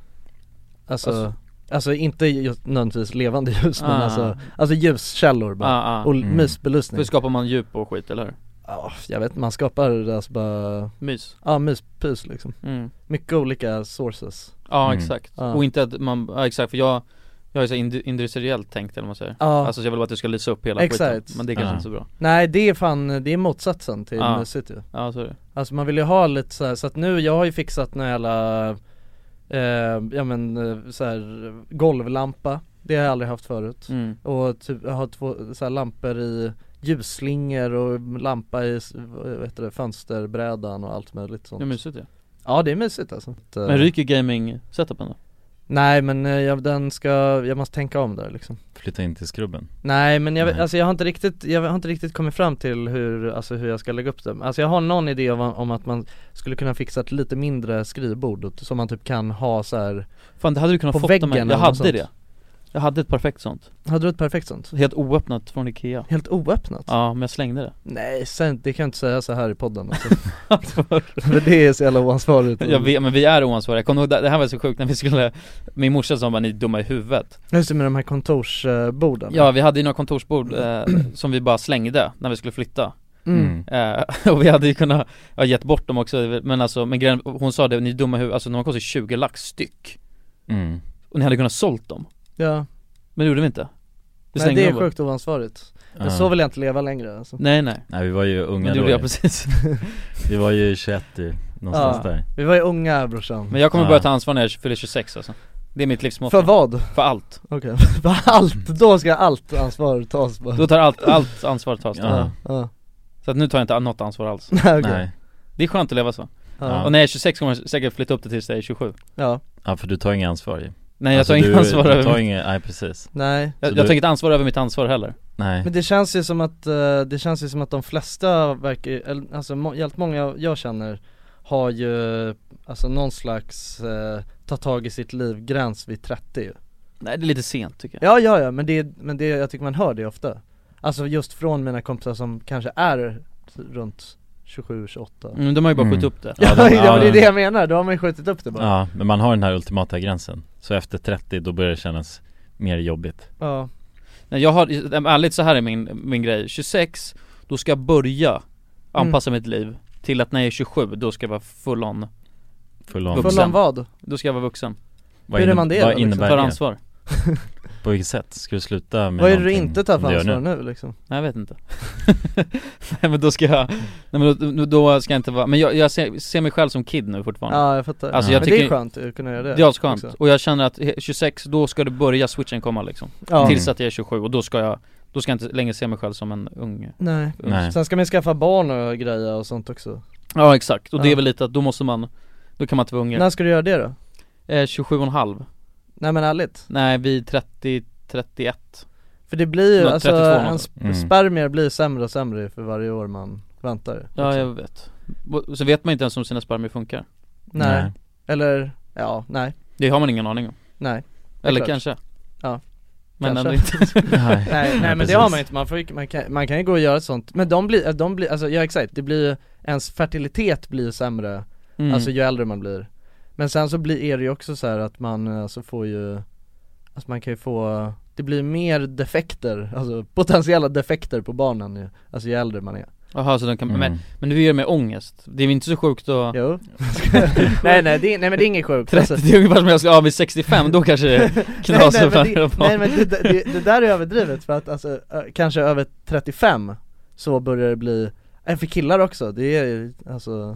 Speaker 1: Alltså, alltså,
Speaker 2: Alltså-
Speaker 1: inte just nödvändigtvis levande ljus men
Speaker 2: Ah.
Speaker 1: alltså, alltså ljuskällor bara
Speaker 2: ah, ah.
Speaker 1: Och
Speaker 6: Mm.
Speaker 1: mysbelysning
Speaker 2: Hur skapar man djup och skit eller hur?
Speaker 1: Ja, jag vet man skapar alltså bara,
Speaker 2: Mys
Speaker 1: ja myspys liksom
Speaker 2: mm.
Speaker 1: Mycket olika sources
Speaker 2: Ja
Speaker 6: Mm.
Speaker 2: exakt,
Speaker 1: Ja.
Speaker 2: och inte att man, ja, exakt för jag Jag är så indu- industriellt tänkt eller vad man säger
Speaker 1: Ja,
Speaker 2: Alltså så jag vill bara att det ska lysa upp hela
Speaker 1: Exakt.
Speaker 2: skiten, men det är kanske
Speaker 6: Ja.
Speaker 2: inte så bra
Speaker 1: nej det är fan, det är motsatsen till
Speaker 2: Ja.
Speaker 1: mysigt ju
Speaker 2: Ja så är det
Speaker 1: Alltså man vill ju ha lite så här, så att nu, jag har ju fixat några jävla eh, Ja men eh, så här golvlampa Det har jag aldrig haft förut
Speaker 2: mm.
Speaker 1: Och typ, jag har två så här lampor i ljusslingor och lampa i s- vad heter det, fönsterbrädan och allt möjligt sånt
Speaker 2: Ja mysigt ja
Speaker 1: Ja det är mysigt alltså Att, eh,
Speaker 2: Men ryker gaming-setupen då?
Speaker 1: Nej men eh, jag, den ska, jag måste tänka om där liksom
Speaker 6: Flytta in till skrubben
Speaker 1: Nej men jag,
Speaker 6: Nej.
Speaker 1: alltså jag har inte riktigt, jag har inte riktigt kommit fram till hur, alltså hur jag ska lägga upp det Alltså jag har någon idé om, om att man skulle kunna fixa ett lite mindre skrivbord och- som man typ kan ha så här.
Speaker 2: Fan det hade du kunnat
Speaker 1: På
Speaker 2: fått
Speaker 1: väggen
Speaker 2: av mig,
Speaker 1: eller
Speaker 2: jag
Speaker 1: något
Speaker 2: hade
Speaker 1: sånt.
Speaker 2: det Jag hade ett perfekt sånt,
Speaker 1: Hade du ett perfekt sånt?
Speaker 2: helt oöppnat från Ikea
Speaker 1: Helt oöppnat?
Speaker 2: Ja men jag slängde det
Speaker 1: Nej, sen, det kan jag inte säga så här i podden alltså. För det är så jävla oansvarigt
Speaker 2: Jag vet, men vi är oansvariga, jag kommer ihåg, det det här var så sjukt när vi skulle Min morsa sa bara ni är dumma i huvudet
Speaker 1: Just det med de här kontorsborden
Speaker 2: Ja vi hade ju några kontorsbord eh, som vi bara slängde när vi skulle flytta
Speaker 1: mm.
Speaker 2: Eh, och vi hade ju kunnat, ja, gett bort dem också, men alltså, men grejen, hon sa det, ni är dumma i huvudet, alltså de kostar 20 lax styck
Speaker 6: Mm.
Speaker 2: Och ni hade kunnat sålt dem,
Speaker 1: Ja,
Speaker 2: men det gjorde vi inte Vi
Speaker 1: nej
Speaker 2: slängde
Speaker 1: det är
Speaker 2: dem bara.
Speaker 1: sjukt oansvarigt Men
Speaker 6: Ja.
Speaker 1: så vill jag inte leva längre alltså.
Speaker 2: Nej nej,
Speaker 6: Nej vi var ju unga
Speaker 2: men det
Speaker 6: då
Speaker 2: gjorde jag
Speaker 6: ju.
Speaker 2: precis
Speaker 6: Vi var ju 21 ju, någonstans
Speaker 1: Ja.
Speaker 6: där
Speaker 1: Vi var ju unga brorsan
Speaker 2: Men jag kommer
Speaker 6: Ja.
Speaker 2: börja ta ansvar när jag fyller 26 alltså Det är mitt livsmål
Speaker 1: För vad?
Speaker 2: För allt,
Speaker 1: Okej, för allt, då ska allt ansvar tas bara
Speaker 2: då tar allt, allt ansvar tas
Speaker 6: Ja.
Speaker 1: ja, ja.
Speaker 2: Så att nu tar jag inte något ansvar alls
Speaker 1: Nej, okej.
Speaker 6: Nej,
Speaker 2: Det är skönt att leva så
Speaker 1: Ja.
Speaker 2: Och när jag är 26 kommer jag säkert flytta upp det tills jag är 27
Speaker 1: ja,
Speaker 6: ja för du tar inget ansvar ju
Speaker 2: Nej jag
Speaker 6: Alltså,
Speaker 2: tar inget
Speaker 6: du-
Speaker 2: ansvar
Speaker 6: du
Speaker 2: över
Speaker 6: tar
Speaker 2: mitt,
Speaker 6: inget, nej precis
Speaker 1: nej
Speaker 2: jag,
Speaker 6: så
Speaker 2: jag
Speaker 6: du-
Speaker 2: tar inget ansvar över mitt ansvar heller
Speaker 6: Nej
Speaker 1: Men det känns ju som att, eh, det känns ju som att de flesta verkar, eller, alltså må, helt många jag känner har ju alltså någon slags eh, ta tag i sitt liv gräns vid 30 ju.
Speaker 2: Nej det är lite sent tycker jag
Speaker 1: Ja ja ja men det, men det, jag tycker man hör det ofta Alltså just från mina kompisar som kanske är runt 27, 28
Speaker 2: Mm, de har ju bara skjutit
Speaker 3: Mm.
Speaker 2: upp det.
Speaker 3: Ja,
Speaker 1: Ja,
Speaker 3: de-
Speaker 1: ja det
Speaker 3: ja.
Speaker 1: är det jag menar, då har man ju skjutit upp det bara
Speaker 3: Ja, men man har den här ultimata gränsen Så efter 30 då börjar det kännas mer jobbigt
Speaker 1: Ja,
Speaker 2: Nej, jag har, ärligt så här är min, min grej, 26, då ska jag börja anpassa
Speaker 1: Mm.
Speaker 2: mitt liv till att när jag är 27, då ska jag vara full on,
Speaker 3: Full on.
Speaker 2: Vuxen.
Speaker 1: Full on vad?
Speaker 2: då ska jag vara vuxen,
Speaker 3: Vad
Speaker 1: hur är
Speaker 3: inne-
Speaker 1: man det
Speaker 3: Vad
Speaker 1: då, liksom?
Speaker 3: innebär
Speaker 2: ta
Speaker 3: det?
Speaker 2: ansvar
Speaker 3: På vilket sätt? Ska du sluta med
Speaker 1: Vad är det du
Speaker 3: någonting
Speaker 1: inte tar
Speaker 3: som
Speaker 1: för
Speaker 3: du gör
Speaker 1: ansvar
Speaker 3: nu?
Speaker 1: nu liksom?
Speaker 2: Nej jag vet inte Nej men då ska jag, nej men då, då ska jag inte vara, men jag, jag ser, ser mig själv som kid nu fortfarande
Speaker 1: Ja jag fattar,
Speaker 2: Alltså,
Speaker 3: jag
Speaker 1: men det är
Speaker 2: tycker-
Speaker 1: skönt att kunna göra det
Speaker 2: Det är skönt,
Speaker 1: också.
Speaker 2: och jag känner att he- 26, då ska det börja switchen komma liksom
Speaker 1: Ja,
Speaker 2: Tills att jag är 27 och då ska jag, då ska jag inte längre se mig själv som en ung
Speaker 1: nej
Speaker 3: Nej.
Speaker 1: Sen ska man ju skaffa barn och grejer och sånt också
Speaker 2: Ja exakt, och det
Speaker 1: Ja.
Speaker 2: är väl lite att då måste man, då kan man inte vara unge
Speaker 1: När ska du göra det då?
Speaker 2: eh, 27 och en halv,
Speaker 1: Nej men ärligt,
Speaker 2: nej vid 30, 31
Speaker 1: för det blir ju,
Speaker 2: Nå,
Speaker 1: alltså
Speaker 2: 32
Speaker 1: en
Speaker 2: något.
Speaker 1: sp-
Speaker 3: Mm.
Speaker 1: spermier blir sämre och sämre för varje år man väntar
Speaker 2: Ja
Speaker 1: liksom.
Speaker 2: jag vet, Och så vet man inte ens om sina spermier funkar
Speaker 1: Nej. eller, ja, nej,
Speaker 2: Det har man ingen aning om,
Speaker 1: nej
Speaker 2: eller
Speaker 1: klart.
Speaker 2: kanske
Speaker 1: Ja.
Speaker 2: Men
Speaker 1: Kanske.
Speaker 2: ändå inte
Speaker 3: Nej,
Speaker 1: Nej, nej men det
Speaker 3: precis.
Speaker 1: har man ju inte, man, får, ju- man, kan, man kan ju gå och göra sånt Men de blir, de blir, alltså ja exakt, det blir ju, ens fertilitet blir ju sämre,
Speaker 2: mm.
Speaker 1: alltså ju äldre man blir Men sen så blir, är det ju också så här att man eh, alltså får ju, alltså man kan ju få, det blir mer defekter, alltså potentiella defekter på barnen ju, alltså ju äldre man är
Speaker 2: Jaha, så de kan,
Speaker 3: Mm.
Speaker 2: men, men du gör det med ångest, det är väl inte så sjukt att
Speaker 1: Jo Nej nej, det, är- nej men det är inget sjukt Alltså,
Speaker 2: 30, det är ungefär som jag skulle, ja vid 65 då kanske det
Speaker 1: nej,
Speaker 2: eh, knasar
Speaker 1: nej, men,
Speaker 2: för
Speaker 1: det,
Speaker 2: att
Speaker 1: nej men det, det, det där är överdrivet för att alltså, ö- kanske över 35 så börjar det bli, äh, för killar också, det är ju alltså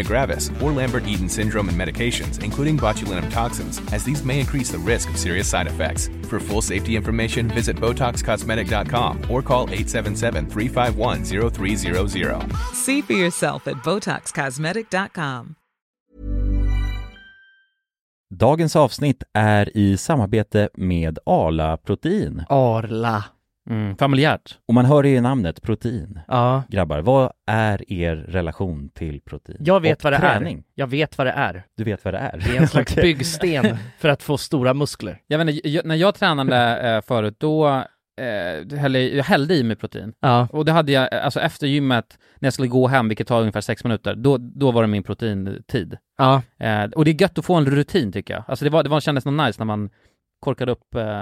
Speaker 9: gravis, or Lambert-Eaton syndrome and medications including botulinum toxins, as these may increase the risk of serious side effects. For full safety information, visit BotoxCosmetic.com or call 877-351-0300.
Speaker 10: See for yourself at BotoxCosmetic.com.
Speaker 6: Dagens avsnitt är i samarbete med Arla Protein.
Speaker 11: Arla.
Speaker 2: mm, Familjärt
Speaker 6: Och man hör det i namnet, protein.
Speaker 11: Ja.
Speaker 6: Grabbar, vad är er relation till protein?
Speaker 11: Jag vet
Speaker 6: Och
Speaker 11: vad det
Speaker 6: träning.
Speaker 11: är. Jag vet vad det är.
Speaker 6: Du vet vad det är?
Speaker 11: Det är en slags
Speaker 6: Okej.
Speaker 11: byggsten för att få stora muskler.
Speaker 2: Jag vet inte, jag, när jag tränade eh, förut då eh, hällde, jag- jag hällde i mig protein
Speaker 11: Ja.
Speaker 2: Och det hade jag, eh, alltså efter gymmet, när jag skulle gå hem, vilket tar ungefär sex minuter, då, då var det min proteintid
Speaker 11: Ja.
Speaker 2: eh, Och det är gött att få en rutin tycker jag, alltså det, var, det var, kändes nog nice när man korkade upp eh...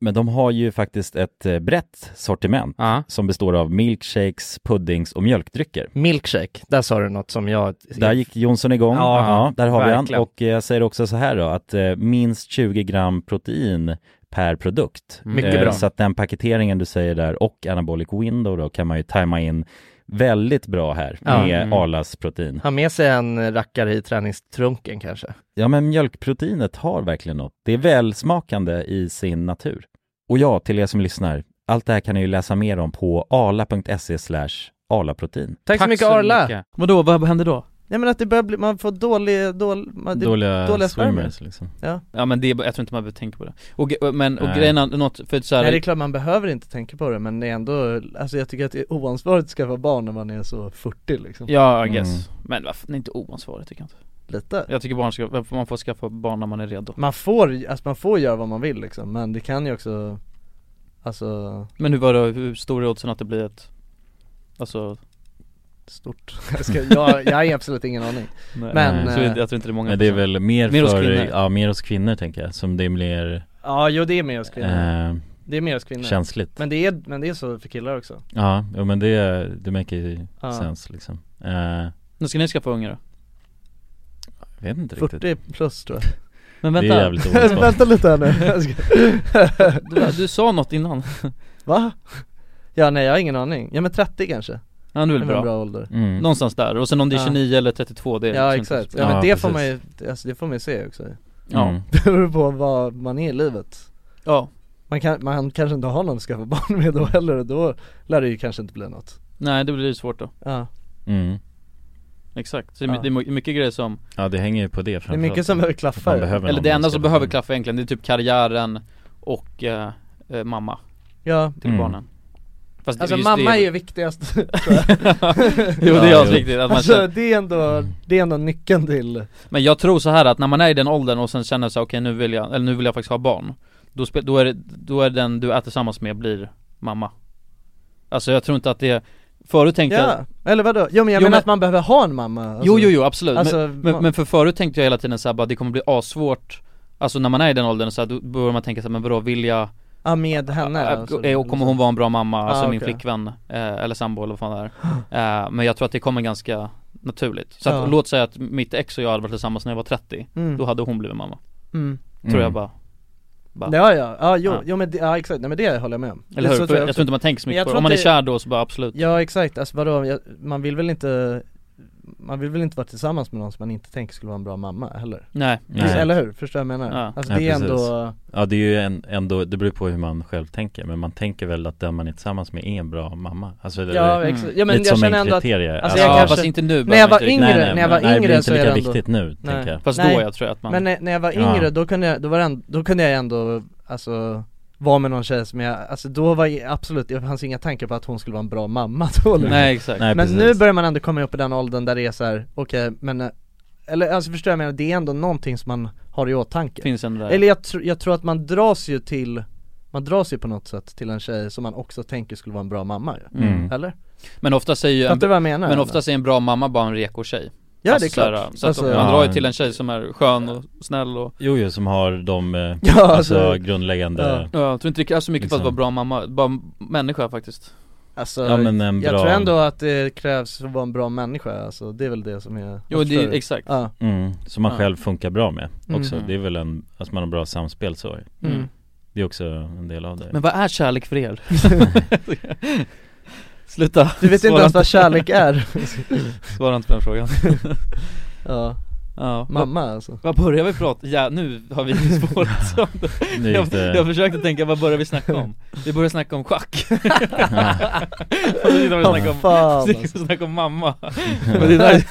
Speaker 6: men de har ju faktiskt ett eh, brett sortiment
Speaker 2: Ja.
Speaker 6: som består av milkshakes, puddings och mjölkdrycker.
Speaker 11: Milkshake, där sa du något som jag...
Speaker 6: Där gick Jonsson igång.
Speaker 11: Ja,
Speaker 6: Ja, där har vi
Speaker 11: verkligen.
Speaker 6: han. Och eh, jag säger också så här då, att eh, minst 20 gram protein per produkt.
Speaker 11: Mycket
Speaker 6: Eh,
Speaker 11: bra.
Speaker 6: Så att den paketeringen du säger där och anabolic window då kan man ju tajma in väldigt bra här
Speaker 11: Ja.
Speaker 6: med
Speaker 2: Mm.
Speaker 6: Arlas protein.
Speaker 11: Ha med sig en rackare i träningstrunken kanske.
Speaker 6: Ja men mjölkproteinet har verkligen något. Det är välsmakande i sin natur. Och ja, till er som lyssnar, allt det här kan ni ju läsa mer om på arla.se slash Arla-protein.
Speaker 8: Tack så mycket, Arla.
Speaker 2: Vadå, vad händer då?
Speaker 1: Nej men att det börjar bli, man får dålig, dålig, man, det-
Speaker 6: Dåliga,
Speaker 1: dåliga spermier.
Speaker 6: swimmers liksom.
Speaker 1: Ja.
Speaker 2: Ja men det, är- jag tror inte man behöver tänka på det. Och, ge- men, och
Speaker 6: Nej.
Speaker 2: grejen är något, för så här,
Speaker 1: Nej det är klart man behöver inte tänka på det men det är ändå, alltså jag tycker att det är oansvarigt att skaffa barn när man är så 40 liksom
Speaker 2: Ja, I guess. Men varför, det är inte oansvarigt tycker jag inte.
Speaker 1: Lite.
Speaker 2: Jag tycker barn ska, man får skaffa barn när man är redo.
Speaker 1: Man får, alltså man får göra vad man vill liksom men det kan ju också, alltså
Speaker 2: Men hur var det, hur stor är oddsen att det blir ett, alltså
Speaker 1: stort, jag, ska, jag, jag har absolut ingen aning
Speaker 2: Nej.
Speaker 1: Men,
Speaker 2: Nej.
Speaker 1: eh,
Speaker 2: Så jag tror inte det är många
Speaker 6: Men det är
Speaker 2: procent.
Speaker 6: väl mer,
Speaker 2: Mer hos
Speaker 6: för,
Speaker 2: kvinnor.
Speaker 6: ja mer hos kvinnor tänker jag, som det är mer
Speaker 1: Ja jo det är mer hos kvinnor
Speaker 6: Eh,
Speaker 1: Det är mer hos kvinnor
Speaker 6: känsligt.
Speaker 1: Men det är, men det är så för killar också
Speaker 6: Ja, jo, men det, det make ju
Speaker 1: Ja.
Speaker 6: sense liksom Eh, Jag
Speaker 2: Nu ska ni skaffa ungar då?
Speaker 6: vet inte riktigt
Speaker 1: 40 plus tror jag
Speaker 2: Men
Speaker 6: Det är
Speaker 2: vänta,
Speaker 6: jävligt oansvarigt.
Speaker 1: Vänta lite här nu Jag ska-
Speaker 2: du, du sa något innan
Speaker 1: Va? Ja nej jag har ingen aning, ja men 30 kanske
Speaker 2: Ja det
Speaker 1: Det
Speaker 2: är väl
Speaker 1: var en
Speaker 2: bra,
Speaker 1: bra ålder
Speaker 6: Mm.
Speaker 2: någonstans där, och sen om det är
Speaker 1: Ja.
Speaker 2: 29 eller 32 det är
Speaker 1: Ja
Speaker 2: liksom inte
Speaker 1: exakt,
Speaker 2: så-
Speaker 1: ja men
Speaker 6: Ja,
Speaker 1: det får man ju,
Speaker 6: precis.
Speaker 1: alltså det får man ju se också
Speaker 2: Ja.
Speaker 6: Mm.
Speaker 1: Det beror på vad man är i livet
Speaker 2: Ja,
Speaker 1: man, kan, man kanske inte har någon att skaffa barn med då heller och då lär det ju kanske inte bli något
Speaker 2: nej det blir ju svårt då,
Speaker 1: Ja,
Speaker 6: Mm.
Speaker 2: exakt så
Speaker 1: Ja.
Speaker 2: det är my- mycket grejer som,
Speaker 6: Ja det hänger ju på det
Speaker 1: det är mycket som behöver klaffa
Speaker 6: Man
Speaker 1: ju.
Speaker 6: behöver
Speaker 2: eller
Speaker 6: någon
Speaker 2: det enda
Speaker 6: man ska
Speaker 2: som behöver
Speaker 6: få-
Speaker 2: klaffa egentligen det är typ karriären och eh, eh, mamma
Speaker 1: Ja,
Speaker 2: till
Speaker 6: Mm.
Speaker 2: barnen Fast det-
Speaker 1: alltså
Speaker 2: just
Speaker 1: mamma
Speaker 2: det,
Speaker 1: är ju viktigast
Speaker 2: Jo det
Speaker 6: Ja,
Speaker 2: är
Speaker 6: jo.
Speaker 2: viktigt att man
Speaker 1: Alltså
Speaker 2: känner,
Speaker 1: det är ändå,
Speaker 2: Mm.
Speaker 1: det är ändå nyckeln till
Speaker 2: men jag tror så här att när man är i den åldern och sen känner så här, okej nu vill jag, eller nu vill jag faktiskt ha barn Då, spe, då, är, det, då är den du är tillsammans med blir mamma Alltså jag tror inte att det, förut tänkte jag
Speaker 1: Ja, eller vadå? Jo men jag
Speaker 2: Jo,
Speaker 1: menar
Speaker 2: men-
Speaker 1: att man behöver ha en mamma alltså.
Speaker 2: Jo jo jo absolut,
Speaker 1: Alltså,
Speaker 2: men, men,
Speaker 1: man-
Speaker 2: men för förut tänkte jag hela tiden såhär bara det kommer bli assvårt Alltså när man är i den åldern så här, då börjar man tänka såhär men vadå vill jag,
Speaker 1: Ja med henne
Speaker 2: äh,
Speaker 1: alltså.
Speaker 2: äh, och kommer hon vara en bra mamma, alltså
Speaker 1: Ah,
Speaker 2: min
Speaker 1: okej.
Speaker 2: flickvän eh, eller sambo eller vad fan det är eh, Men jag tror att det kommer ganska naturligt Så att,
Speaker 1: Ja.
Speaker 2: låt säga att mitt ex och jag hade varit tillsammans när jag var 30
Speaker 1: Mm.
Speaker 2: Då hade hon blivit mamma,
Speaker 1: Mm.
Speaker 2: tror
Speaker 6: Mm.
Speaker 2: jag bara, bara.
Speaker 1: Ja ja, ja jo,
Speaker 2: Ja.
Speaker 1: jo men det, ja exakt, nej men det håller jag med om
Speaker 2: Eller
Speaker 1: Det-
Speaker 2: hur?
Speaker 1: så
Speaker 2: För jag,
Speaker 1: också.
Speaker 2: tror inte man tänker så
Speaker 1: Men
Speaker 2: mycket
Speaker 1: jag
Speaker 2: på det.
Speaker 1: tror
Speaker 2: Om man är
Speaker 1: att det-
Speaker 2: kär då så bara absolut
Speaker 1: Ja exakt, alltså vadå, jag, man vill väl inte man vill väl inte vara tillsammans med någon som man inte tänker skulle vara en bra mamma heller?
Speaker 2: Nej,
Speaker 6: Nej.
Speaker 1: Eller hur? Förstår vad jag menar?
Speaker 2: Ja.
Speaker 1: Alltså
Speaker 6: Ja,
Speaker 1: det är
Speaker 6: precis.
Speaker 1: ändå,
Speaker 6: Ja det är ju en, ändå, det beror på hur man själv tänker Men man tänker väl att den man är tillsammans med är en bra mamma Alltså det
Speaker 1: ja,
Speaker 6: är
Speaker 1: ex-
Speaker 2: Mm.
Speaker 1: ja men
Speaker 6: lite
Speaker 1: jag
Speaker 6: som
Speaker 1: känner
Speaker 6: en
Speaker 1: ändå att
Speaker 6: kriterie
Speaker 1: alltså,
Speaker 2: ja,
Speaker 1: jag kanske-
Speaker 2: fast inte nu typ-
Speaker 1: när jag var
Speaker 2: behöver man inte
Speaker 1: yngre,
Speaker 6: Nej, nej,
Speaker 1: när jag var
Speaker 6: men- nej, det blir
Speaker 1: yngre
Speaker 6: inte
Speaker 1: så är
Speaker 6: lika
Speaker 1: det ändå
Speaker 6: viktigt nu, tänker jag
Speaker 2: riktigt- Fast
Speaker 1: Nej.
Speaker 2: då jag tror jag att man
Speaker 1: Men när, när jag var
Speaker 6: Ja.
Speaker 1: yngre då kunde jag, då, var det ändå, då kunde jag ändå, alltså vara med någon tjej som jag, alltså då var jag, absolut, det fanns inga tankar på att hon skulle vara en bra mamma då liksom.
Speaker 2: Nej exakt
Speaker 6: Nej,
Speaker 1: Men
Speaker 6: precis.
Speaker 1: nu börjar man ändå komma upp i den åldern där det är så här, okej men, eh, eller alltså förstår jag, jag menar det är ändå någonting som man har i åtanke
Speaker 2: Finns en där
Speaker 1: Eller jag, tr- jag tror att man dras ju till, man dras ju på något sätt till en tjej som man också tänker skulle vara en bra mamma ju.
Speaker 6: Mm.
Speaker 1: Eller?
Speaker 2: Men ofta säger ju en,
Speaker 1: Fattar du vad jag menar?
Speaker 2: Men oftast är en bra mamma bara en reko tjej
Speaker 1: Ja det
Speaker 2: Alltså
Speaker 1: är klart
Speaker 2: såhär, Så att
Speaker 1: Alltså,
Speaker 2: man
Speaker 6: Ja.
Speaker 2: drar ju till en tjej som är skön och snäll och
Speaker 6: Jo, jo, som har de, eh,
Speaker 1: Ja,
Speaker 6: alltså,
Speaker 1: alltså-
Speaker 6: grundläggande
Speaker 2: Ja, jag tror inte det krävs så mycket för att
Speaker 6: Liksom.
Speaker 2: vara bra mamma, bara människa faktiskt
Speaker 1: alltså,
Speaker 6: Ja, men en
Speaker 1: Jag
Speaker 6: bra-
Speaker 1: tror ändå att det krävs för att vara en bra människa alltså, det är väl det som är
Speaker 2: Jo det är
Speaker 1: Förstår du?
Speaker 2: exakt
Speaker 1: Ja,
Speaker 6: mm, Som man
Speaker 2: Ja.
Speaker 6: själv funkar bra med också
Speaker 2: Mm.
Speaker 6: Det är väl en, alltså man har bra samspel så
Speaker 1: mm.
Speaker 6: Det är också en del av det
Speaker 2: Men vad är kärlek för er? Sluta,
Speaker 1: Du vet inte
Speaker 2: Svara
Speaker 1: ens vad kärlek är
Speaker 2: svara inte på den frågan
Speaker 1: Ja,
Speaker 2: Ja, vad,
Speaker 1: mamma alltså
Speaker 2: vad börjar vi prata, ja nu har vi spårat som
Speaker 6: Nu
Speaker 2: jag,
Speaker 6: gick det-
Speaker 2: jag försökte tänka, vad börjar vi snacka om? Vi börjar snacka om schack Och så sitter vi och snackar om,
Speaker 1: Fan
Speaker 2: sitter vi
Speaker 1: alltså.
Speaker 2: och snackar om mamma Men det där,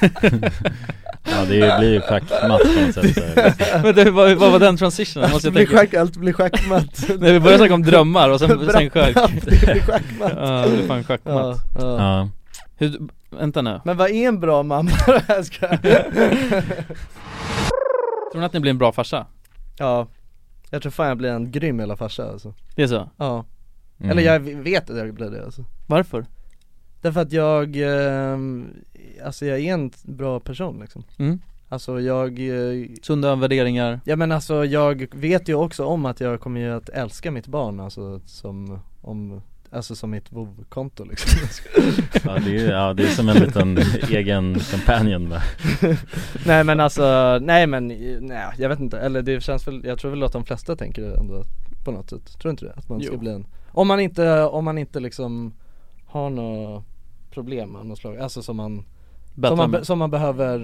Speaker 6: Ja det är- blir ju schackmatt på något sätt så här, liksom.
Speaker 2: Vänta, vad, vad var den transitionen? Måste
Speaker 1: Allt
Speaker 2: jag
Speaker 1: blir
Speaker 2: tänka
Speaker 1: Alltså, schack, allt blir schackmatt
Speaker 2: Nej vi började snacka om drömmar och sen, sen schack
Speaker 1: Brapp, brapp, det blir schackmatt
Speaker 2: Ja, det är fan schackmatt
Speaker 1: ja, ja.
Speaker 6: Ja,
Speaker 2: Hur, vänta nu,
Speaker 1: Men vad är en bra mamma? Jag skojar.
Speaker 2: tror ni att ni blir en bra farsa?
Speaker 1: Ja, jag tror fan jag blir en grym jävla farsa alltså
Speaker 2: Det är så?
Speaker 1: Ja,
Speaker 6: mm.
Speaker 1: eller jag vet att jag blir det alltså
Speaker 2: Varför?
Speaker 1: Därför att jag, ehm, alltså jag är en bra person liksom
Speaker 2: Mm.
Speaker 1: Alltså jag, eh,
Speaker 2: Sunda värderingar
Speaker 1: ja men alltså jag vet ju också om att jag kommer ju att älska mitt barn alltså som, om, alltså som mitt vovkonto liksom
Speaker 6: ja, det är, ju- ja det är som en liten egen companion va?
Speaker 1: Nej men alltså, nej men, eh, nej jag vet inte, eller det känns väl, jag tror väl att de flesta tänker det ändå på något sätt, tror du inte det? Att man ska
Speaker 2: Jo.
Speaker 1: bli en, om man inte, om man inte liksom har några problem av något slag, alltså som man, som man, be- som man behöver,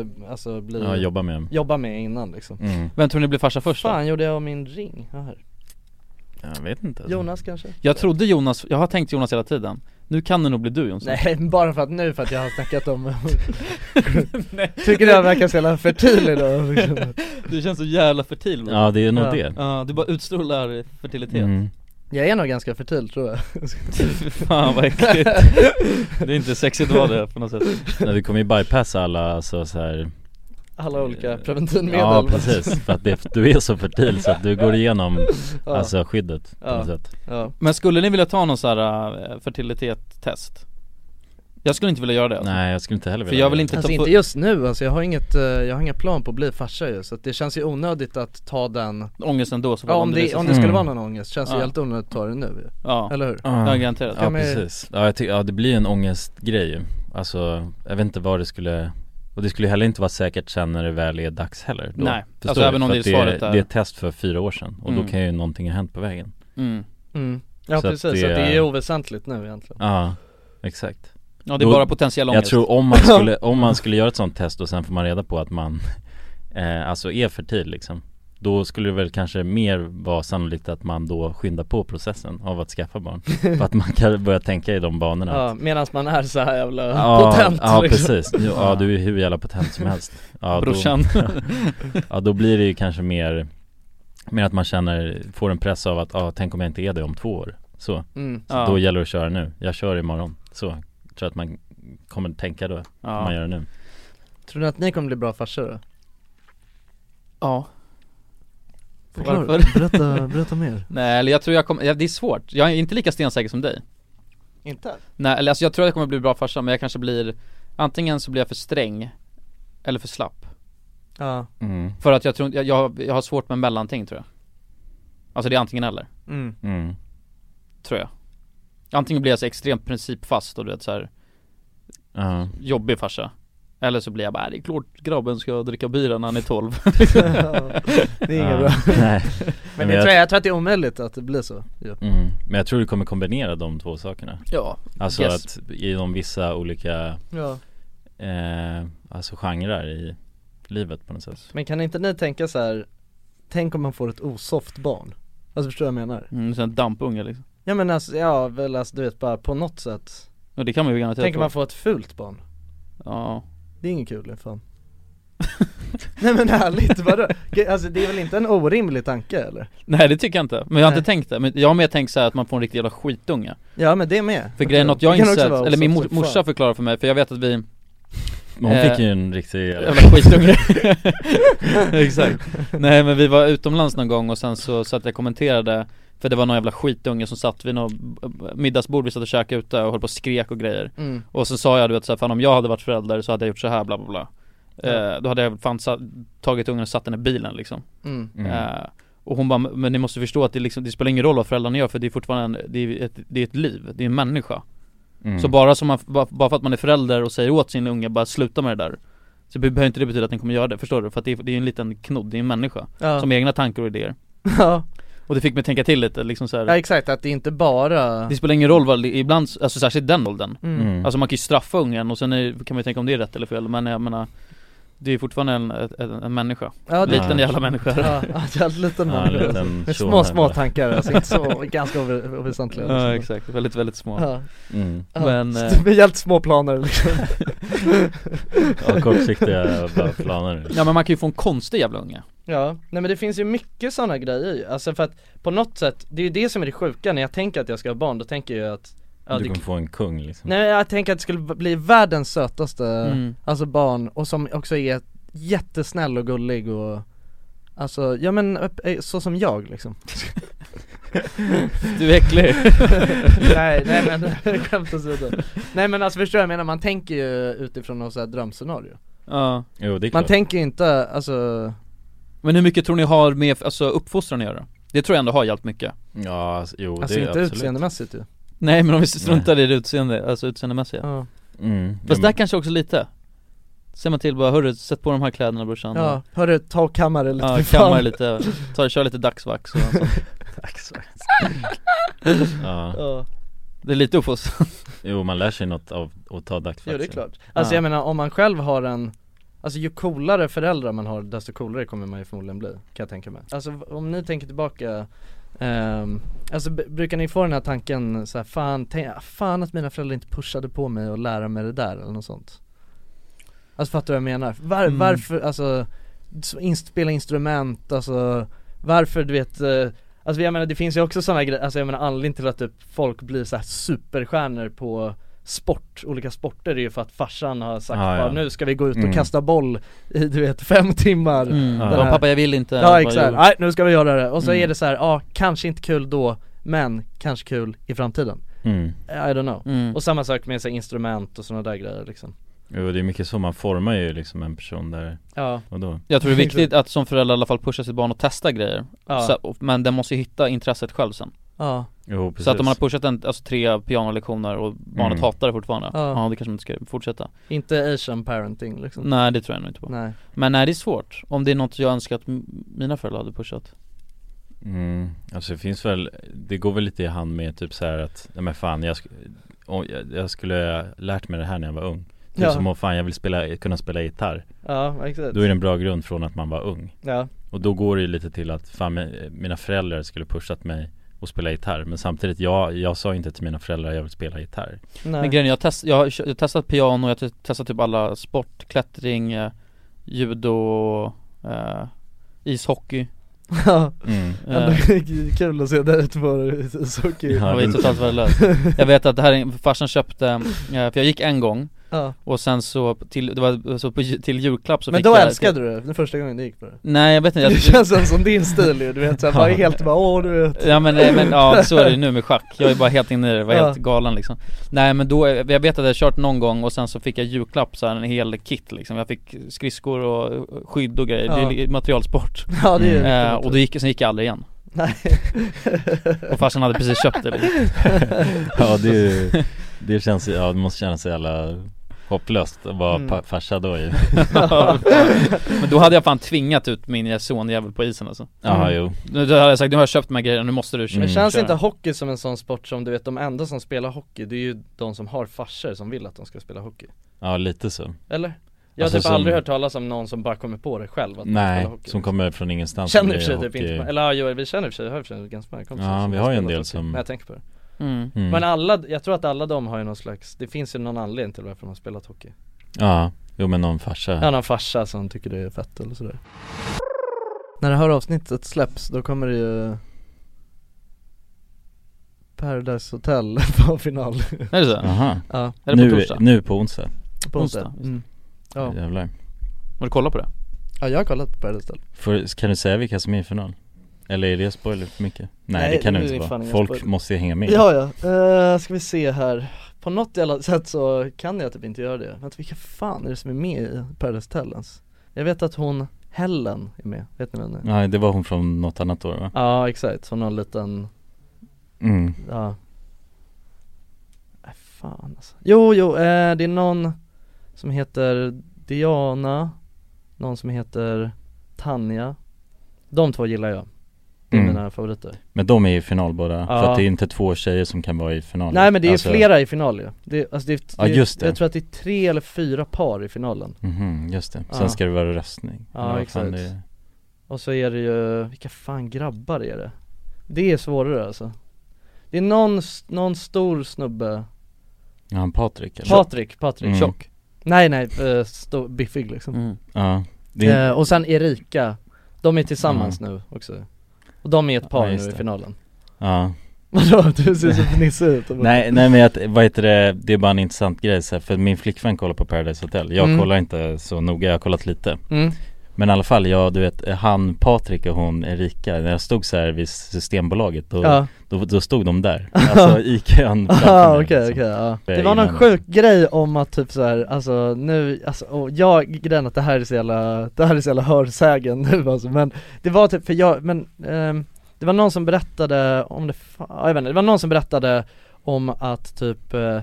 Speaker 1: eh, alltså bli,
Speaker 6: Ja, jobba med dem
Speaker 1: jobba med innan liksom
Speaker 6: mm.
Speaker 2: Vem tror ni blir farsa först då?
Speaker 1: Fan gjorde jag av min ring? Ja, här.
Speaker 6: Jag vet inte alltså.
Speaker 1: Jonas kanske?
Speaker 2: Jag trodde Jonas, jag har tänkt Jonas hela tiden Nu kan det nog bli du Jonsson
Speaker 1: Nej, bara för att nu för att jag har snackat om Tycker du jag verkar så jävla fertil idag liksom.
Speaker 2: Du känns så jävla fertil va?
Speaker 6: Ja, det är nog det.
Speaker 2: Ja, du bara utstrålar fertilitet
Speaker 6: Mm.
Speaker 1: Jag är nog ganska fertil tror jag
Speaker 2: Fan vad äckligt Det är inte sexigt att vara det på något sätt
Speaker 6: Nej, vi kommer ju bypassa alla alltså, så här.
Speaker 1: Alla olika preventivmedel
Speaker 6: Eh, Ja precis, för att det, du är så fertil så att du går igenom
Speaker 2: Ja.
Speaker 6: alltså, skyddet på
Speaker 2: Ja.
Speaker 6: något sätt
Speaker 1: Ja.
Speaker 2: Men skulle ni vilja ta någon sån här eh, fertilitetstest? Jag skulle inte vilja göra det alltså.
Speaker 6: Nej jag skulle inte heller
Speaker 2: För
Speaker 6: vilja
Speaker 2: jag vill inte
Speaker 1: Alltså
Speaker 2: ta
Speaker 1: inte
Speaker 2: på-
Speaker 1: just nu alltså, jag har inget, eh, jag har inga plan på att bli farsa ju så att det känns ju onödigt att ta den
Speaker 2: Ångesten då så
Speaker 1: Ja
Speaker 2: var
Speaker 1: om
Speaker 2: det
Speaker 1: det,
Speaker 2: liksom-
Speaker 1: om det skulle
Speaker 6: Mm.
Speaker 1: vara någon ångest, känns det
Speaker 2: Ja.
Speaker 1: helt onödigt att ta det nu ju
Speaker 2: Ja.
Speaker 1: Eller hur?
Speaker 2: Ja, garanterat.
Speaker 6: Ja
Speaker 1: Kan man ju-
Speaker 6: precis, ja, jag ty- ja det blir ju en ångestgrej ju Alltså, jag vet inte vad det skulle Och det skulle heller inte vara säkert sen när det väl är dags heller då.
Speaker 2: Nej,
Speaker 6: Förstår
Speaker 2: alltså
Speaker 6: du?
Speaker 2: även om
Speaker 6: För
Speaker 2: det
Speaker 6: att
Speaker 2: är svaret
Speaker 6: det
Speaker 2: där.
Speaker 6: är ett test för fyra år sedan och
Speaker 2: Mm.
Speaker 6: då kan ju någonting ha hänt på vägen
Speaker 2: Mm.
Speaker 1: Mm. Ja
Speaker 6: Så att
Speaker 1: precis, så att
Speaker 6: det-
Speaker 1: det är oväsentligt nu egentligen
Speaker 6: Ja, exakt
Speaker 2: Ja, det är bara potentiell
Speaker 6: Jag
Speaker 2: ångest.
Speaker 6: tror om man skulle, om man skulle göra ett sånt test och sen får man reda på att man eh, Alltså är fertil liksom Då skulle det väl kanske mer vara sannolikt att man då skyndar på processen av att skaffa barn För att man kan börja tänka i de banorna
Speaker 1: Ja, medan man är så här jävla
Speaker 6: Ja,
Speaker 1: potent
Speaker 6: ja
Speaker 1: liksom.
Speaker 6: precis, ja, du är hur jävla potent som helst ja,
Speaker 2: Brorsan.
Speaker 6: då, Ja då blir det ju kanske mer Mer att man känner, får en press av att ja, tänk om jag inte är det om två år Så,
Speaker 2: Mm.
Speaker 6: så
Speaker 2: Ja.
Speaker 6: då gäller det att köra nu, jag kör imorgon Så, tror jag att man kommer tänka då,
Speaker 2: Ja.
Speaker 6: om man gör det nu
Speaker 1: Tror ni att ni kommer bli bra farsor då?
Speaker 2: Ja
Speaker 1: Förklara.
Speaker 2: Varför?
Speaker 1: Berätta- berätta mer.
Speaker 2: Nej eller jag tror jag kommer, ja, det är svårt, jag är inte lika stensäker som dig
Speaker 1: Inte?
Speaker 2: Nej eller alltså jag tror jag kommer bli bra farsa men jag kanske blir Antingen så blir jag för sträng Eller för slapp
Speaker 1: Ja
Speaker 6: Mm.
Speaker 2: För att jag tror, jag, jag, jag har svårt med mellanting tror jag Alltså det är antingen eller
Speaker 1: Mm.
Speaker 6: Mm.
Speaker 2: Tror jag Antingen blir jag så extremt principfast och du vet så här
Speaker 6: Ja.
Speaker 2: Jobbig farsa Eller så blir jag bara, "Äh, det är klart grabben ska dricka bira när han är 12
Speaker 1: Det är inget bra
Speaker 6: Nej.
Speaker 1: Men
Speaker 6: Men
Speaker 1: det
Speaker 6: jag-
Speaker 1: tror jag, jag tror att det är omöjligt att det blir så ju.
Speaker 6: Mm. Men jag tror du kommer kombinera de två sakerna
Speaker 1: Ja,
Speaker 6: Alltså
Speaker 1: yes.
Speaker 6: att inom vissa olika
Speaker 1: Ja.
Speaker 6: eh, Alltså genrer i livet på något sätt
Speaker 1: Men kan inte ni tänka så här? tänk om man får ett osoft barn? Alltså förstår du vad jag menar?
Speaker 2: mm, så en dampunge liksom
Speaker 1: Ja men alltså, ja väl alltså du vet bara på något sätt
Speaker 2: Och det kan man ju garanterat
Speaker 1: Tänk om
Speaker 2: få.
Speaker 1: man får ett fult barn?
Speaker 2: Ja
Speaker 1: Det är inget kul i fan Nej men ärligt, vadå? Ge- Alltså det är väl inte en orimlig tanke eller?
Speaker 2: Nej det tycker jag inte, men jag har
Speaker 1: Nej.
Speaker 2: inte tänkt det, men jag har mer tänkt så här att man får en riktig jävla skitunge
Speaker 1: Ja men det med
Speaker 2: För grejen är något
Speaker 1: Det
Speaker 2: jag
Speaker 1: kan också
Speaker 2: insett,
Speaker 1: vara
Speaker 2: eller min
Speaker 1: osoft
Speaker 2: mor,
Speaker 1: som fan.
Speaker 2: morsa förklarade för mig, för jag vet att vi
Speaker 6: Men hon
Speaker 2: eh,
Speaker 6: fick ju en riktig Mm.
Speaker 2: Jävla skitunge Exakt Nej men vi var utomlands någon gång och sen så satt jag och kommenterade För det var någon jävla skitunge som satt vid något middagsbord, vi satt och käkade ute och höll på och skrek och grejer
Speaker 1: Mm.
Speaker 2: Och sen sa jag du vet såhär, fan om jag hade varit förälder så hade jag gjort så här bla bla bla
Speaker 1: Ja.
Speaker 2: eh, Då hade jag fan sa- tagit ungen och satt den i bilen liksom
Speaker 1: Mm.
Speaker 6: Mm.
Speaker 2: eh, Och hon bara, men ni måste förstå att det liksom, det spelar ingen roll vad föräldrarna gör för det är fortfarande, en, det är ett, det är ett liv, det är en människa
Speaker 6: Mm.
Speaker 2: så bara, som man, bara bara för att man är förälder och säger åt sin unge bara sluta med det där Så be- behöver inte det betyda att den kommer göra det, förstår du? För att det är, det är en liten knodd, det är en människa
Speaker 1: Ja.
Speaker 2: Som har egna tankar och idéer
Speaker 1: Ja.
Speaker 2: Och det fick mig tänka till lite liksom så här.
Speaker 1: ja exakt, att det inte bara
Speaker 2: Det spelar ingen roll vad, det- ibland, alltså särskilt den åldern
Speaker 1: Mm.
Speaker 2: Alltså man kan ju straffa ungen och sen är, kan man ju tänka om det är rätt eller fel Men jag menar Det är fortfarande en, en, en människa
Speaker 1: Ja, det-
Speaker 2: Liten jävla människa
Speaker 1: Ja, ja, det är en liten
Speaker 6: Ja,
Speaker 1: man
Speaker 6: en liten
Speaker 1: Med
Speaker 6: tjomme
Speaker 1: små, små
Speaker 6: bara.
Speaker 1: tankar alltså, inte så, ganska ove- oväsentliga liksom.
Speaker 2: Ja exakt, väldigt väldigt små
Speaker 1: Ja.
Speaker 6: Mm.
Speaker 1: Ja.
Speaker 2: Men,
Speaker 1: Så
Speaker 2: eh,
Speaker 1: det blir helt små planer liksom
Speaker 6: Ja, kortsiktiga bara planer
Speaker 2: Ja men man kan ju få en konstig jävla unge
Speaker 1: Ja, nej men det finns ju mycket sådana grejer ju. alltså för att på något sätt, det är ju det som är det sjuka när jag tänker att jag ska ha barn, då tänker jag att ja,
Speaker 6: Du
Speaker 1: det,
Speaker 6: kommer få en kung liksom
Speaker 1: Nej men jag tänker att det skulle bli världens sötaste,
Speaker 2: Mm.
Speaker 1: alltså barn, och som också är jättesnäll och gullig och Alltså, ja men eh, så som jag liksom
Speaker 2: Du är äcklig
Speaker 1: Nej, nej men skämt åsido Nej men alltså förstår du, jag menar man tänker ju utifrån något sådant drömscenario
Speaker 2: Ja
Speaker 6: Jo det är
Speaker 1: Man
Speaker 6: klart
Speaker 1: tänker ju inte, alltså
Speaker 2: Men hur mycket tror ni har med alltså, uppfostran att göra? Det tror jag ändå har hjälpt mycket
Speaker 6: Ja, alltså, jo
Speaker 1: Alltså
Speaker 6: det
Speaker 1: inte
Speaker 6: är absolut
Speaker 1: utseendemässigt ju
Speaker 2: Nej men om vi struntar i det utseende, alltså utseendemässiga
Speaker 1: Ja,
Speaker 6: mm.
Speaker 2: Fast
Speaker 6: ja,
Speaker 2: där kanske också lite Säger man till bara, hörru sätt på de här kläderna brorsan
Speaker 1: ja hörru, ta och kamma det lite
Speaker 2: ja
Speaker 1: för fan.
Speaker 2: kammar lite, ta, kör lite dagsvax och sånt.
Speaker 6: men- ja.
Speaker 1: Ja.
Speaker 2: Det är lite uppfostran
Speaker 6: Jo man lär sig något av att ta dagsfaktor
Speaker 1: Jo det är klart. Alltså
Speaker 2: Ja.
Speaker 1: jag menar om man själv har en Alltså ju coolare föräldrar man har desto coolare kommer man ju förmodligen bli, kan jag tänka mig Alltså v- om ni tänker tillbaka Ehm, alltså b- brukar ni få den här tanken så här, fan, tänk, ah, fan att mina föräldrar inte pushade på mig att lära mig det där eller något sånt? Alltså fattar du vad jag menar? Var,
Speaker 12: Mm.
Speaker 1: Varför, alltså, s- in, spela instrument, alltså varför du vet eh, Alltså jag menar det finns ju också sådana grejer, alltså jag menar anledningen till att typ folk blir så här superstjärnor på sport, olika sporter är ju för att farsan har sagt
Speaker 2: Ja,
Speaker 1: ah,
Speaker 2: ja.
Speaker 1: nu ska vi gå ut och
Speaker 2: Mm.
Speaker 1: kasta boll i du vet fem timmar
Speaker 2: Mm.
Speaker 1: Den
Speaker 2: Ja.
Speaker 1: här-
Speaker 2: Pappa, jag vill inte.
Speaker 1: Ja
Speaker 2: Vad
Speaker 1: exakt,
Speaker 2: gjorde-
Speaker 1: nej nu ska vi göra det och så
Speaker 2: Mm.
Speaker 1: är det så här, ja kanske inte kul då men kanske kul i framtiden
Speaker 6: Mm.
Speaker 1: I don't know
Speaker 6: Mm.
Speaker 1: Och samma sak med så här, instrument och sådana där grejer liksom
Speaker 6: Jo, det är mycket så, man formar ju liksom en person där
Speaker 1: Ja.
Speaker 6: och då
Speaker 2: Jag tror det är viktigt att som förälder i alla fall pusha sitt barn att testa grejer
Speaker 1: Ja.
Speaker 2: så, och- Men den måste ju hitta intresset själv sen
Speaker 1: Ja.
Speaker 6: Jo,
Speaker 2: Så att
Speaker 6: precis.
Speaker 2: om man har pushat en, alltså tre pianolektioner och barnet
Speaker 1: Mm.
Speaker 2: hatar det fortfarande
Speaker 1: Ja.
Speaker 2: ja. då kanske man inte ska fortsätta
Speaker 1: Inte asian parenting liksom
Speaker 2: Nej det tror jag nog inte på
Speaker 1: Nej.
Speaker 2: Men nej det är svårt, om det är något jag önskar att m- mina föräldrar hade pushat
Speaker 6: Mm, alltså det finns väl, det går väl lite i hand med typ så här att, nej men fan jag, sk- om- jag, jag skulle ha lärt mig det här när jag var ung Typ
Speaker 1: Ja.
Speaker 6: som om fan jag vill spela, kunna spela gitarr
Speaker 1: Ja, exakt.
Speaker 6: Då är det en bra grund från att man var ung
Speaker 1: Ja.
Speaker 6: Och då går det ju lite till att fan mi- mina föräldrar skulle pushat mig att spela gitarr Men samtidigt, jag, jag sa inte till mina föräldrar jag vill spela gitarr
Speaker 1: Nej.
Speaker 2: Men grejen är, jag, test, jag, har, jag har testat piano, jag har te- testat typ alla sport, klättring, eh, judo, eh, ishockey eh,
Speaker 1: Ja,
Speaker 2: Mm.
Speaker 1: Ändå kul att se där ute på ishockey
Speaker 2: Det var ju totalt värdelöst Jag vet att det här, är- farsan köpte, eh, för jag gick en gång
Speaker 1: Ja.
Speaker 2: Och sen så, till, det var, så på, ju- till julklapp så
Speaker 1: Men
Speaker 2: fick
Speaker 1: då
Speaker 2: jag
Speaker 1: älskade du det, den första gången du gick på det
Speaker 2: Nej jag vet inte jag,
Speaker 1: Det känns som- som din stil ju, du vet såhär, bara helt bara, åh du vet
Speaker 2: Ja men, nej, men ja, så är det ju nu med schack, jag är bara helt inne i det, var
Speaker 1: Ja.
Speaker 2: helt galen liksom Nej men då, jag vet att jag hade kört någon gång och sen så fick jag julklapp så här, en hel kit liksom Jag fick skridskor och skydd och grejer,
Speaker 1: Ja. Mm.
Speaker 2: det är materialsport
Speaker 1: Ja, det är ju
Speaker 6: Mm,
Speaker 2: eh,
Speaker 1: otroligt.
Speaker 2: Och då gick, sen gick jag aldrig igen
Speaker 1: Nej
Speaker 2: Och farsan hade precis köpt det liksom.
Speaker 6: Ja det, är ju- det känns, ju- ja det måste kännas så jävla hopplöst att vara
Speaker 2: Mm.
Speaker 6: pa- farsa då ju
Speaker 2: Ja, Men då hade jag fan tvingat ut min sonjävel på isen alltså
Speaker 6: Ja, jo.
Speaker 2: Nu då hade jag sagt, nu har jag köpt de här grejerna, nu måste du köra
Speaker 1: Men Mm. känns
Speaker 2: köra.
Speaker 1: inte hockey som en sån sport som du vet, de enda som spelar hockey det är ju de som har farsor som vill att de ska spela hockey
Speaker 6: Ja lite så
Speaker 1: Eller? Jag har
Speaker 6: Alltså,
Speaker 1: typ
Speaker 6: som-
Speaker 1: aldrig hört talas om någon som bara kommer på det själv att de
Speaker 6: Nej,
Speaker 1: spelar hockey
Speaker 6: som kommer från ingenstans
Speaker 1: Känner i
Speaker 6: och
Speaker 1: och för sig
Speaker 6: blir
Speaker 1: typ inte,
Speaker 6: hockey-
Speaker 1: eller ja, jo, vi känner i och för sig, har i och för sig ganska många kompisar
Speaker 6: Ja,
Speaker 1: som
Speaker 6: vi har ju en
Speaker 1: spelat
Speaker 6: del
Speaker 1: hockey,
Speaker 6: som-
Speaker 1: När jag tänker på det
Speaker 6: Mm. Mm.
Speaker 1: Men alla, jag tror att alla de har ju någon slags, det finns ju någon anledning till varför de har spelat hockey
Speaker 6: Ja, jo men någon farsa
Speaker 1: Ja, någon farsa som tycker det är fett eller sådär När det här avsnittet släpps då kommer det ju Paradise Hotel på final
Speaker 2: Är det så?
Speaker 6: Aha.
Speaker 1: Ja
Speaker 6: nu, nu på onsdag
Speaker 1: På onsdag, mm. Ja.
Speaker 6: Jävlar
Speaker 2: Har du kollat på det?
Speaker 1: ja jag har kollat på Paradise Hotel
Speaker 6: Får, Kan du säga vilka som är i final? Eller är det spoiler för mycket? Nej,
Speaker 1: Nej,
Speaker 6: det kan
Speaker 1: det
Speaker 6: det
Speaker 1: är
Speaker 6: inte
Speaker 1: fan
Speaker 6: vara,
Speaker 1: ingen
Speaker 6: folk
Speaker 1: spoiler.
Speaker 6: måste ju hänga med
Speaker 1: Ja ja, Eh, ska vi se här På något jävla sätt så kan jag typ inte göra det Vänta vilka fan är det som är med i Paradise Hotel ens? Jag vet att hon, Helen är med, vet ni vem det är?
Speaker 6: Nej det var hon från något annat år va?
Speaker 1: Ja exakt, hon har en liten
Speaker 6: Mm.
Speaker 1: Ja Nej, Fan alltså Jo jo, eh, det är någon som heter Diana Någon som heter Tanja De två gillar jag Det är
Speaker 6: Mm.
Speaker 1: mina favoriter
Speaker 6: Men de är i final båda, för
Speaker 1: Ja.
Speaker 6: att det är inte två tjejer som kan vara i final
Speaker 1: Nej men det är ju
Speaker 6: Alltså-
Speaker 1: flera i final ju det, alltså det, är-
Speaker 6: Ja, just det.
Speaker 1: Jag tror att det är tre eller fyra par i finalen
Speaker 6: Mhm, just det. Sen
Speaker 1: Ja.
Speaker 6: ska det vara röstning Eller
Speaker 1: Ja
Speaker 6: vad
Speaker 1: exakt
Speaker 6: fan det är.
Speaker 1: Och så är det ju, vilka fan grabbar är det? Det är svårare alltså Det är någon, s- någon stor snubbe
Speaker 6: Ja, han Patrik eller?
Speaker 1: Patrik, Patrik
Speaker 6: Mm.
Speaker 1: Nej nej, eh, stor, biffig liksom
Speaker 6: Ja, det är,
Speaker 1: Eh, Och sen Erika, de är tillsammans nu också Och de är ett par
Speaker 6: Mm. Ja,
Speaker 1: nu
Speaker 6: just
Speaker 1: i
Speaker 6: det.
Speaker 1: finalen
Speaker 6: ja
Speaker 1: Vadå? Du ser så fnissig ut
Speaker 6: Nej, nej men att, vad heter det, det är bara en intressant grej så här, för min flickvän kollar på Paradise Hotel Jag
Speaker 1: Mm.
Speaker 6: kollar inte så noga, jag har kollat lite
Speaker 1: Mm.
Speaker 6: Men i alla fall, jag, du vet, han Patrik och hon Erika, när jag stod så här vid Systembolaget då,
Speaker 1: Ja.
Speaker 6: då, då stod de där Alltså i kön framför
Speaker 1: Ah,
Speaker 6: mig,
Speaker 1: okej,
Speaker 6: liksom.
Speaker 1: okej, ja.
Speaker 6: Eh,
Speaker 1: Det var någon
Speaker 6: innan-
Speaker 1: sjuk grej om att typ så här, alltså nu, alltså, och jag, grejen att det här är så jävla, det här är så jävla hörsägen nu alltså, men det var typ, för jag, men ehm, det var någon som berättade om det, fa- ja, jag vet inte, det var någon som berättade om att typ eh,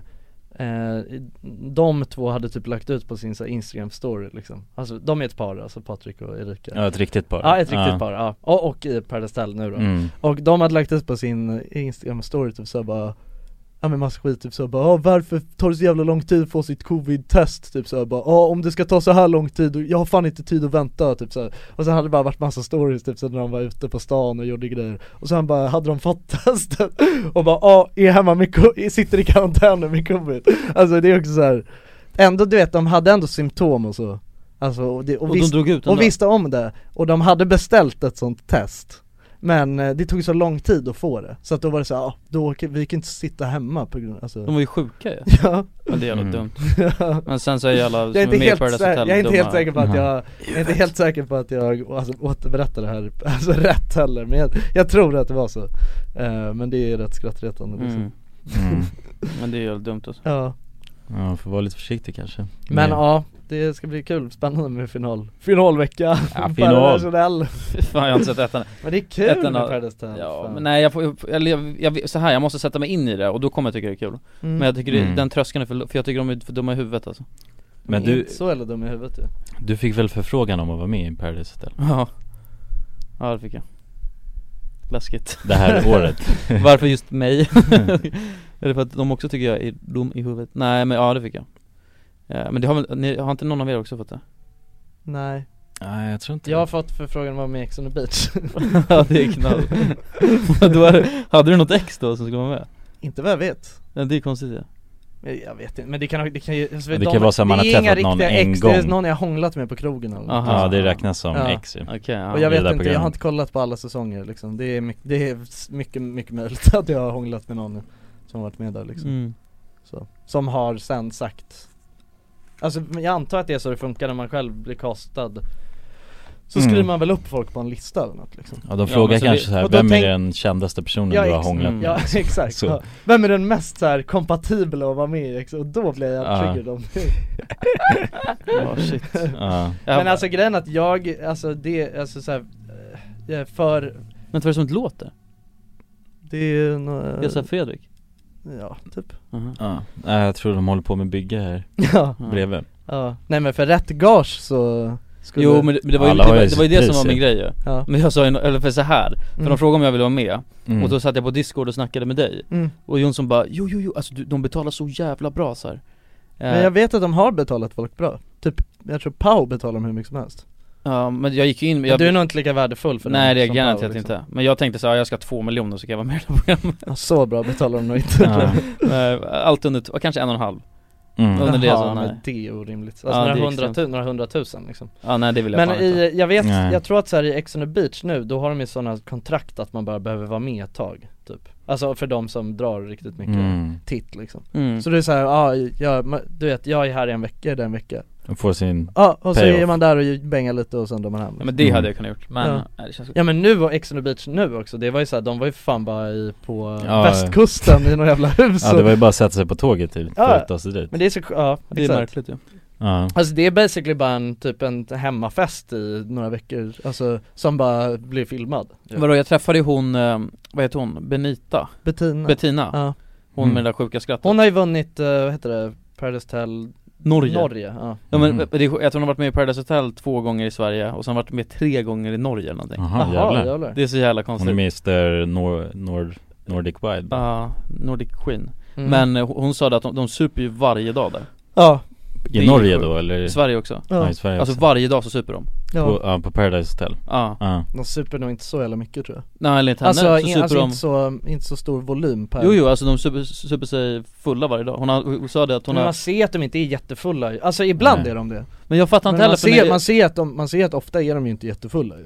Speaker 1: eh, de två hade typ lagt ut på sin så här, Instagram story liksom Alltså de är ett par, alltså Patrik och Erika
Speaker 6: Ja, ett riktigt par.
Speaker 1: Ja ett riktigt
Speaker 6: Ja.
Speaker 1: par, ja, och, och i Paradise Hotel nu då
Speaker 6: Mm.
Speaker 1: Och de hade lagt ut på sin Instagram story typ så här bara ja men massa skit, typ så bara "Ah, varför tar det så jävla lång tid att få sitt covid-test? Typ så här, bara "Ah, om det ska ta så här lång tid, och jag har fan inte tid att vänta, typ så här. Och sen hade det bara varit massa stories typ så när de var ute på stan och gjorde grejer Och sen bara, hade de fått testet? Och bara, ja, är hemma med co- sitter i karantän nu med covid Alltså det är också så här. ändå du vet, de hade ändå symptom och så Alltså och, det, och,
Speaker 13: Och de drog ut
Speaker 1: och
Speaker 13: ändå?
Speaker 1: visste om det, och de hade beställt ett sånt test men eh, det tog så lång tid att få det, så att då var det så här, ah, då, åker- vi kan inte sitta hemma på grund alltså.
Speaker 2: De var ju sjuka ju
Speaker 1: Ja
Speaker 2: Men det är jävligt
Speaker 1: Mm.
Speaker 2: dumt Men sen så är jävla,
Speaker 1: jag är
Speaker 2: som
Speaker 1: inte,
Speaker 2: är med i
Speaker 1: helt,
Speaker 2: Paradise
Speaker 1: säker,
Speaker 2: Hotel Mm.
Speaker 1: jag är inte
Speaker 2: dumma-
Speaker 1: helt säker på att jag, jag är inte helt säker på att jag alltså, återberättar det här alltså, rätt heller Men jag, jag tror att det var så Eh, Men det är rätt skrattretande liksom.
Speaker 2: Mm. Men det är jävligt dumt alltså
Speaker 1: Ja.
Speaker 6: Ja, får vara lite försiktig kanske
Speaker 1: Men ja, det ska bli kul, spännande med final Finalvecka,
Speaker 6: Ja,
Speaker 2: final.
Speaker 1: Paradise Hotel.
Speaker 2: Fan jag har inte sett ettan
Speaker 1: Men det är kul
Speaker 2: Ettan
Speaker 1: med
Speaker 2: har-
Speaker 1: Paradise Hotel
Speaker 2: Ja
Speaker 1: fan.
Speaker 2: men nej jag får, eller jag, jag, så här jag måste sätta mig in i det och då kommer jag tycka det är kul
Speaker 1: Mm.
Speaker 2: Men jag tycker det,
Speaker 6: Mm.
Speaker 2: den tröskeln är för, lo- för jag tycker de är för dumma i huvudet alltså
Speaker 6: Men
Speaker 1: De är
Speaker 6: du-
Speaker 1: inte så eller dum i huvudet ju
Speaker 6: Du fick väl förfrågan om att vara med i Paradise Hotel?
Speaker 2: Ja Ja det fick jag Läskigt
Speaker 6: Det här året.
Speaker 2: Varför just mig? är det för att de också tycker jag är dum i huvudet? Nej men ja det fick jag Eh, Men det har väl, ni, har inte någon av er också fått det?
Speaker 1: Nej
Speaker 6: Nej jag tror inte
Speaker 1: Jag har fått förfrågan om att vara med i Ex on the beach
Speaker 2: ja det är knall Då är- Hade du något ex då som skulle vara med?
Speaker 1: Inte vad jag vet
Speaker 2: Ja, det är konstigt ja.
Speaker 1: Men Jag vet inte, men det kan, det kan ju alltså,
Speaker 6: det kan vara så att man har
Speaker 1: det är inga
Speaker 6: träffat någon
Speaker 1: riktiga
Speaker 6: en
Speaker 1: ex, Det är
Speaker 6: gång.
Speaker 1: någon jag har hånglat med på krogen eller något.
Speaker 6: Aha. Ja, det räknas som ex ju.
Speaker 2: Okej, ja.
Speaker 1: Och jag
Speaker 6: I det
Speaker 1: vet
Speaker 6: där
Speaker 1: inte, jag har
Speaker 6: programmet.
Speaker 1: inte kollat på alla säsonger liksom Det är, mycket, det är s- mycket, mycket möjligt att jag har hånglat med någon som har varit med där liksom
Speaker 2: Mm.
Speaker 1: så. Som har sen sagt Alltså men jag antar att det är så det funkar när man själv blir kastad Så
Speaker 6: Mm.
Speaker 1: skriver man väl upp folk på en lista eller något liksom
Speaker 6: Ja de
Speaker 2: Ja,
Speaker 6: frågar
Speaker 2: men så
Speaker 6: kanske
Speaker 2: det-
Speaker 6: så här,
Speaker 1: och då
Speaker 6: vem
Speaker 1: tänk-
Speaker 6: är den kändaste personen
Speaker 1: Ja,
Speaker 6: du har
Speaker 1: ex-
Speaker 6: hånglat
Speaker 1: mm.
Speaker 6: med?
Speaker 1: Ja exakt,
Speaker 6: Så.
Speaker 1: ja. vem är den mest så här kompatibla att vara med i? liksom? Och då blir jag
Speaker 6: Ja.
Speaker 1: triggered om det
Speaker 2: Ja shit
Speaker 6: Ja.
Speaker 1: Men alltså grejen att jag, alltså det, alltså så här, eh, jag är för
Speaker 2: Men vad är det som inte låter?
Speaker 1: Det är ju nå-
Speaker 2: Jag sa Fredrik
Speaker 1: Ja, typ
Speaker 6: Ja, Nej, jag tror de håller på med bygge här
Speaker 1: Ja,
Speaker 6: bredvid
Speaker 1: ja. Nej men för rätt gage så skulle
Speaker 2: Jo men det, men det var ju
Speaker 6: Alla
Speaker 2: det,
Speaker 6: har
Speaker 2: var,
Speaker 6: ju
Speaker 2: det, var ju det som
Speaker 6: sitt pris
Speaker 2: var
Speaker 6: ju.
Speaker 2: min grej ju
Speaker 1: Ja.
Speaker 2: Men jag sa ju, nå- eller för så här för
Speaker 1: Mm.
Speaker 2: de frågade om jag ville vara med
Speaker 6: Mm.
Speaker 2: Och då satt jag på discord och snackade med dig
Speaker 1: Mm.
Speaker 2: Och Jonsson bara, jo jo jo, alltså du, de betalar så jävla bra så här. Eh,
Speaker 1: Men jag vet att de har betalat folk bra, typ, jag tror Pau betalar dem hur mycket som helst
Speaker 2: Eh, Ja men jag gick ju in, men
Speaker 1: Men
Speaker 2: jag,
Speaker 1: Du är nog inte lika värdefull för
Speaker 2: Nej
Speaker 1: dem
Speaker 2: det är
Speaker 1: som
Speaker 2: jag garanterat
Speaker 1: Pau, liksom.
Speaker 2: inte Men jag tänkte så här, jag ska ha två miljoner så kan jag vara med i det här programmet
Speaker 1: ja, Så bra betalar de nog inte
Speaker 6: ja.
Speaker 2: Nej, Eh, Allt under, t- kanske en och en halv
Speaker 6: mm.
Speaker 2: Under det
Speaker 1: Jaha,
Speaker 2: så, nej.
Speaker 1: men det är orimligt, alltså
Speaker 2: Ja, det
Speaker 1: några,
Speaker 2: är
Speaker 1: hundratu- några hundratusen liksom
Speaker 2: Ja nej det vill jag
Speaker 1: Men
Speaker 2: fan inte
Speaker 1: i, jag vet,
Speaker 6: Nej.
Speaker 1: jag tror att så här i Ex on the beach nu, då har de ju sådana kontrakt att man bara behöver vara med ett tag, typ Alltså för de som drar riktigt mycket
Speaker 6: Mm.
Speaker 1: titt liksom
Speaker 2: mm.
Speaker 1: Så det är såhär, ja, jag, ma- du vet, jag är här i en vecka, i den vecka
Speaker 6: De får sin,
Speaker 1: Ja, och så
Speaker 6: Payoff.
Speaker 1: är man där och bängar lite och sen drar man hem
Speaker 2: ja, men
Speaker 6: Mm.
Speaker 2: det hade jag kunnat gjort, men
Speaker 1: Ja.
Speaker 2: nej, det känns
Speaker 1: Ja men nu var Ex on the beach nu också, det var ju såhär, de var ju fan bara i, på
Speaker 6: Ja,
Speaker 1: västkusten i några jävla hus
Speaker 6: ja det var ju bara att sätta sig på tåget typ,
Speaker 1: Ja.
Speaker 6: för att ta sig dit
Speaker 1: Men det är så, ja
Speaker 2: Det är
Speaker 1: exakt
Speaker 2: märkligt ju
Speaker 6: Ja,
Speaker 1: Alltså det är basically bara en, typ en hemmafest i några veckor, alltså som bara blir filmad
Speaker 2: Vadå jag träffade ju hon, eh, vad heter hon? Benita?
Speaker 1: Bettina
Speaker 2: Bettina?
Speaker 1: Ja.
Speaker 2: Hon
Speaker 6: Mm.
Speaker 2: med det där sjuka skrattet
Speaker 1: Hon har ju vunnit, eh, vad heter det, Paradise Hotel
Speaker 2: Norge.
Speaker 1: Norge ja.
Speaker 2: Ja men
Speaker 6: Mhm.
Speaker 2: det, jag tror hon har varit med i Paradise Hotel två gånger i Sverige och sen varit med tre gånger i Norge eller någonting
Speaker 6: jaha jävlar
Speaker 1: jävlar
Speaker 2: Det är så jävla
Speaker 6: Hon är
Speaker 2: konstigt
Speaker 6: Mr Nor, Nor, Nordic Wide
Speaker 2: Ja, Nordic Queen
Speaker 1: Mm.
Speaker 2: Men eh, hon- hon sa det att de, de super ju varje dag där
Speaker 1: Ja,
Speaker 2: det är
Speaker 6: I Norge
Speaker 2: sjukt.
Speaker 6: då eller?
Speaker 2: I Sverige också
Speaker 6: Ja,
Speaker 1: ja,
Speaker 6: i Sverige
Speaker 2: Alltså
Speaker 6: också.
Speaker 2: varje dag så super de
Speaker 1: ja.
Speaker 6: På, ja, på Paradise Hotel
Speaker 2: Ja,
Speaker 6: Ja,
Speaker 1: de super nog inte så jävla mycket tror jag
Speaker 2: nej enligt henne
Speaker 1: Alltså,
Speaker 2: så
Speaker 1: in,
Speaker 2: super
Speaker 1: alltså
Speaker 2: de
Speaker 1: inte, så, inte så stor volym per
Speaker 2: Jo jo, alltså de super, super sig fulla varje dag Hon, har, hon sa det att hon
Speaker 1: Men alltså, man
Speaker 2: har
Speaker 1: ser att de inte är jättefulla ju. alltså ibland
Speaker 6: Nej.
Speaker 1: är de det
Speaker 2: Men jag fattar
Speaker 1: Men
Speaker 2: inte heller
Speaker 1: man,
Speaker 2: för
Speaker 1: ser,
Speaker 2: när-
Speaker 1: man, ser att de, man ser att ofta är de ju inte jättefulla ju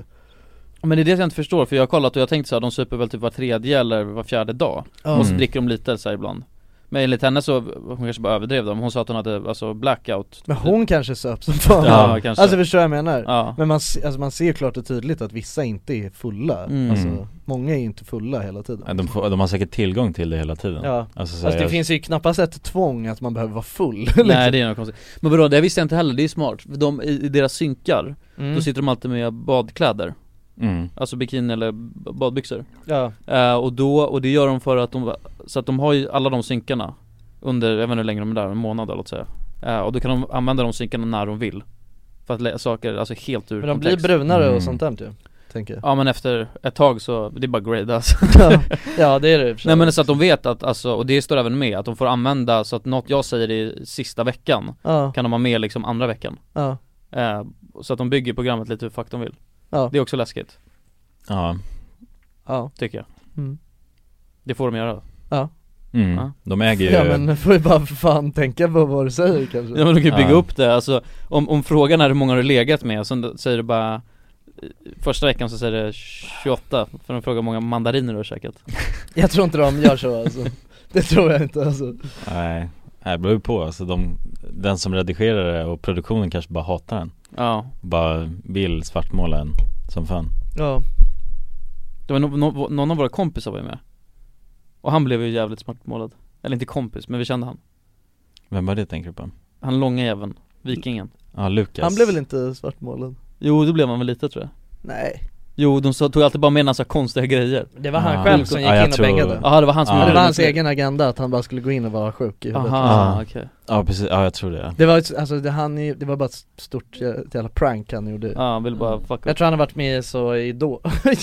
Speaker 2: Men det är det jag inte förstår för jag har kollat och jag tänkte så här, de super väl typ var tredje eller var fjärde dag
Speaker 1: Ja.
Speaker 2: Och så
Speaker 6: Mm.
Speaker 2: dricker de lite så här ibland Men enligt henne så, hon kanske bara överdrev det, men hon sa att hon hade alltså blackout
Speaker 1: Men hon kanske söp som fan
Speaker 2: Ja, kanske.
Speaker 1: Alltså förstår jag vad jag menar?
Speaker 2: Ja,
Speaker 1: Men man, se- alltså man ser ju klart och tydligt att vissa inte är fulla,
Speaker 2: Mm.
Speaker 1: alltså många är ju inte fulla hela tiden
Speaker 6: Ja, de, får, de har säkert tillgång till det hela tiden
Speaker 1: Ja.
Speaker 6: Alltså, så här,
Speaker 1: Alltså det
Speaker 6: jag-
Speaker 1: finns ju knappast ett tvång att man behöver vara full liksom.
Speaker 2: nej det är något konstigt Men vadå, det visste jag inte heller, det är smart, för de, i, i deras synkar,
Speaker 1: Mm.
Speaker 2: då sitter de alltid med badkläder
Speaker 6: mm.
Speaker 2: Alltså bikini eller b- badbyxor
Speaker 1: ja.
Speaker 2: Eh, Och då, och det gör de för att de, så att de har ju alla de synkarna Under, jag vet inte hur länge de är där, en månad eller något säga Eh, Och då kan de använda de synkarna när de vill För att lä- saker, alltså helt ur
Speaker 1: Men de
Speaker 2: kontext
Speaker 1: blir brunare
Speaker 6: Mm.
Speaker 1: och sånt där typ. ju tänker jag
Speaker 2: Ja men efter ett tag så, det är bara grade alltså
Speaker 1: Ja, det är det i och för sig.
Speaker 2: Nej men så att de vet att alltså, och det står även med, att de får använda så att något jag säger i sista veckan
Speaker 1: Ja.
Speaker 2: Kan de ha med liksom andra veckan
Speaker 1: Ja.
Speaker 2: eh, Så att de bygger programmet lite hur fuck de vill
Speaker 1: Ja.
Speaker 2: Det är också läskigt
Speaker 6: Ja,
Speaker 1: Ja
Speaker 2: Tycker jag
Speaker 1: Mm.
Speaker 2: Det får de göra
Speaker 1: Ja.
Speaker 6: Mm. De äger ju
Speaker 1: Ja men får ju bara för fan tänka på vad du säger kanske
Speaker 2: Ja men de kan ju bygga
Speaker 6: Ja.
Speaker 2: upp det, alltså om, om frågan är hur många har du legat med, så säger du bara Första veckan så säger det 28, för de frågar hur många mandariner du har käkat
Speaker 1: Jag tror inte de gör så alltså Det tror jag inte alltså
Speaker 6: Nej, det beror ju på alltså de, Den som redigerar det och produktionen kanske bara hatar den
Speaker 2: Ja
Speaker 6: Bara vill svartmåla en som fan
Speaker 1: Ja
Speaker 2: Det var no- no- någon av våra kompisar var ju med Och han blev ju jävligt smartmålad Eller inte kompis, men vi kände han
Speaker 6: Vem var det tänker du på?
Speaker 2: Han långa jäveln, vikingen
Speaker 6: Ja, Lukas
Speaker 1: Han blev väl inte svartmålad?
Speaker 2: Jo, det blev han väl lite tror jag
Speaker 1: Nej
Speaker 2: Jo, de sa- tog alltid bara med en massa konstiga grejer
Speaker 1: Det var han själv som gick Ja, jag in och tror- bängade.
Speaker 2: Ja, det var han som
Speaker 1: Ja.
Speaker 2: gjorde
Speaker 1: Det var hans egen agenda att han bara skulle gå in och vara sjuk i huvudet
Speaker 6: ja.
Speaker 2: Aha, okej.
Speaker 6: ja precis, ja jag tror det
Speaker 1: Det var ett- alltså det, han, är- det var bara ett stort eh, jävla prank han gjorde
Speaker 2: Ja, han ville bara fucka
Speaker 1: Jag tror han har varit med i så i Idol,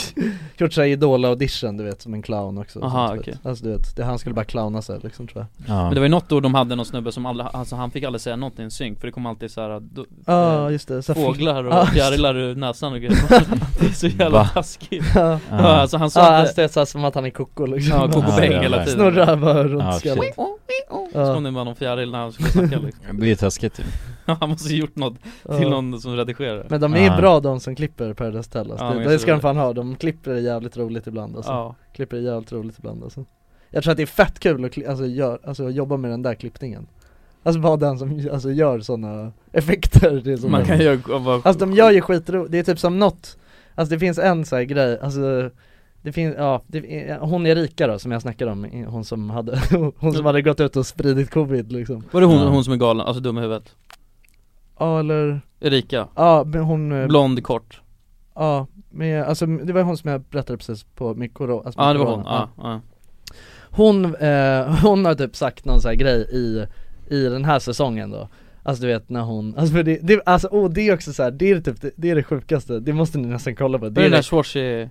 Speaker 1: gjort såhär Idol-audition du vet, som en clown också
Speaker 2: Aha,
Speaker 1: sånt, du vet. Alltså du vet, det, han skulle bara clowna sig liksom tror jag
Speaker 6: Ja.
Speaker 2: Men det var ju något då de hade någon snubbe som aldrig, alltså han fick aldrig säga något i en synk för det kom alltid såhär då-
Speaker 1: Ja,
Speaker 2: eh,
Speaker 1: just det, så här-
Speaker 2: Fåglar
Speaker 1: Ja,
Speaker 2: och
Speaker 1: just det.
Speaker 2: fjärilar ur näsan och grejer Det är så jävla
Speaker 1: Va?
Speaker 2: taskigt
Speaker 1: Ja.
Speaker 2: Ja, alltså han sa
Speaker 1: Ja,
Speaker 2: inte-
Speaker 1: han stöt såhär som att han är koko liksom
Speaker 2: Ja, koko bäng hela tiden
Speaker 1: Snurrar bara runt skallen
Speaker 2: Så kom det bara någon fjäril när han skulle snacka liksom
Speaker 6: Det är taskigt ju
Speaker 2: Ja, han måste ha gjort något till
Speaker 1: Ja.
Speaker 2: någon som redigerar
Speaker 1: Men de är bra de som klipper Paradise Hotel alltså.
Speaker 2: Ja, men
Speaker 1: det,
Speaker 2: jag
Speaker 1: det ska
Speaker 2: tror
Speaker 1: de fan ha, de klipper det jävligt roligt ibland alltså.
Speaker 2: Ja.
Speaker 1: Klipper det jävligt roligt ibland alltså. Jag tror att det är fett kul att kli- alltså, gör, alltså, jobba med den där klippningen Alltså bara den som alltså, gör sådana effekter det är så
Speaker 2: Man
Speaker 1: bra.
Speaker 2: kan ju vara-
Speaker 1: Alltså de gör ju skitro, det är typ som något Alltså det finns en sån här grej, alltså det finns, ja, det, hon Erika då som jag snackade om, hon som hade, hon som hade gått ut och spridit covid liksom
Speaker 2: Var det hon, hon som är galen, alltså dum i huvudet?
Speaker 1: Ja eller
Speaker 2: Erika?
Speaker 1: Ja, men hon eh,
Speaker 2: Blond, kort
Speaker 1: Ja, men alltså det var hon som jag berättade precis på med corona alltså, med
Speaker 2: Ja det var hon,
Speaker 1: corona.
Speaker 2: ja, ja.
Speaker 1: Hon, eh, hon har typ sagt någon sån här grej i, i den här säsongen då Alltså du vet när hon, alltså för det, det alltså åh det är också så här, det är typ det, det är det sjukaste, det måste ni nästan kolla på
Speaker 2: Det är den där Schwarzy, nej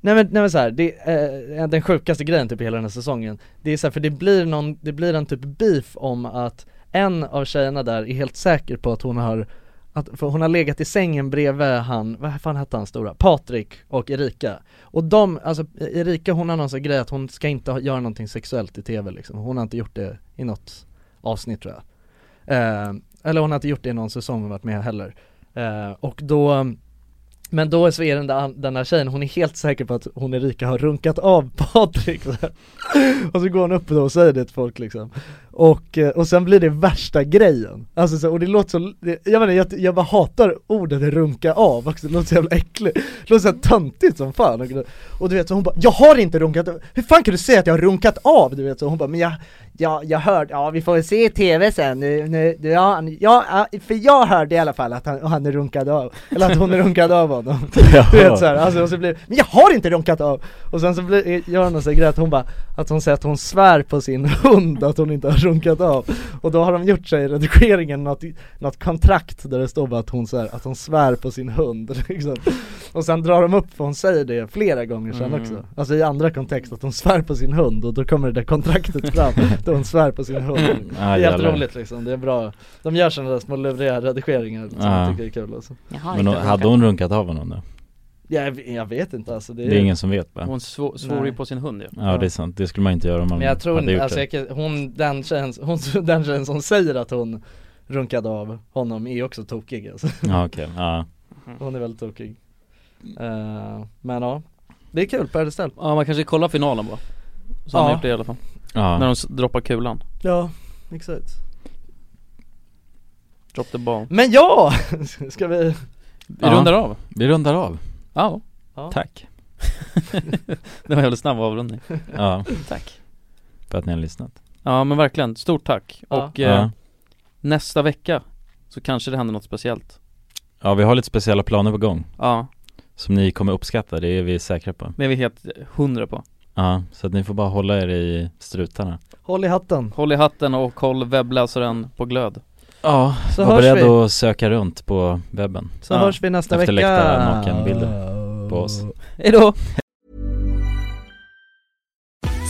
Speaker 1: Nej men, nej men så här, det är eh, den sjukaste grejen typ i hela den här säsongen Det är så här, för det blir någon, det blir en typ beef om att en av tjejerna där är helt säker på att hon har att, för hon har legat i sängen bredvid han, vad fan hette han stora? Patrik och Erika Och de, alltså Erika hon har någon sån grej att hon ska inte ha, göra någonting sexuellt i tv liksom Hon har inte gjort det i något avsnitt tror jag eh, Eller hon har inte gjort det i någon säsong hon varit med heller eh, Och då men då så är den där, den där tjejen, hon är helt säker på att hon Erika har runkat av Patrik så här. Och så går hon upp då och säger det till folk liksom Och, eh, och sen blir det värsta grejen Alltså så, och det låter så, det- jag menar jag, jag bara hatar ordet runka av också, det låter så jävla äckligt Det låter så här töntigt som fan och, gre- och du vet så hon bara, jag har inte runkat av, hur fan kan du säga att jag har runkat av? Du vet så hon bara, men jag, jag, jag hörde, ja vi får väl se i tv sen, nu, nu, ja, han- ja, ja, för jag hörde i alla fall att han, han runkade av, eller att hon runkade av honom Du vet såhär, alltså och så blir men jag har inte runkat av! Och sen så blir, gör hon en sån här grej att hon bara, att hon säger att hon svär på sin hund att hon inte har runkat av Och då har de gjort sig i redigeringen något, något kontrakt där det står bara att hon så här, att hon svär på sin hund liksom. Och sen drar de upp, för hon säger det flera gånger sen
Speaker 2: Mm.
Speaker 1: också Alltså i andra kontext, att hon svär på sin hund och då kommer det där kontraktet fram Då hon svär på sin hund Det
Speaker 6: Ah,
Speaker 1: är
Speaker 6: jävlar.
Speaker 1: jävligt roligt liksom, det är bra De gör sådana där små luriga redigeringar som
Speaker 6: Ja.
Speaker 1: jag tycker är kul alltså
Speaker 6: Men hon, hade hon runkat av honom då?
Speaker 1: jag, jag vet inte alltså det
Speaker 6: Det är ingen som vet va?
Speaker 2: Hon svor, svor ju på sin hund ju
Speaker 6: Ja, det är sant, det skulle man inte göra om man
Speaker 1: Men jag tror
Speaker 6: hade gjort
Speaker 1: inte, alltså
Speaker 6: det
Speaker 1: jag, kan- hon, den tjejen, hon, den tjejen som säger att hon runkade av honom är också tokig alltså.
Speaker 6: Ja okej, ja
Speaker 1: Hon är väldigt tokig Eh, Men ja, det är kul Paradise Hotel
Speaker 2: Ja man kanske kollar finalen bara Så han
Speaker 1: Ja.
Speaker 2: har gjort det i alla fall
Speaker 6: Ja.
Speaker 2: När de s- droppar kulan,
Speaker 1: Ja, exakt
Speaker 2: drop the ball
Speaker 1: Men ja! Ska vi?
Speaker 2: Vi rundar av
Speaker 6: Vi rundar av
Speaker 2: Ja,
Speaker 1: Ja.
Speaker 6: Tack
Speaker 2: det var en jävligt snabb avrundning
Speaker 6: Ja
Speaker 2: Tack
Speaker 6: För att ni har lyssnat
Speaker 2: Ja men verkligen, stort tack
Speaker 1: Ja.
Speaker 2: och eh,
Speaker 6: Ja.
Speaker 2: nästa vecka så kanske det händer något speciellt
Speaker 6: Ja vi har lite speciella planer på gång
Speaker 2: Ja,
Speaker 6: Som ni kommer uppskatta, det är vi säkra på
Speaker 2: det är vi helt hundra på
Speaker 6: Ja, så att ni får bara hålla er i strutarna
Speaker 1: Håll i hatten
Speaker 2: Håll i hatten och håll webbläsaren på glöd
Speaker 6: Ja,
Speaker 1: Så
Speaker 6: var
Speaker 1: hörs
Speaker 6: beredd
Speaker 1: vi.
Speaker 6: att söka runt på webben
Speaker 1: Så hörs vi nästa
Speaker 6: Efter
Speaker 1: vecka.
Speaker 6: läckta nakenbilder
Speaker 1: Oh.
Speaker 6: på oss
Speaker 12: Hejdå!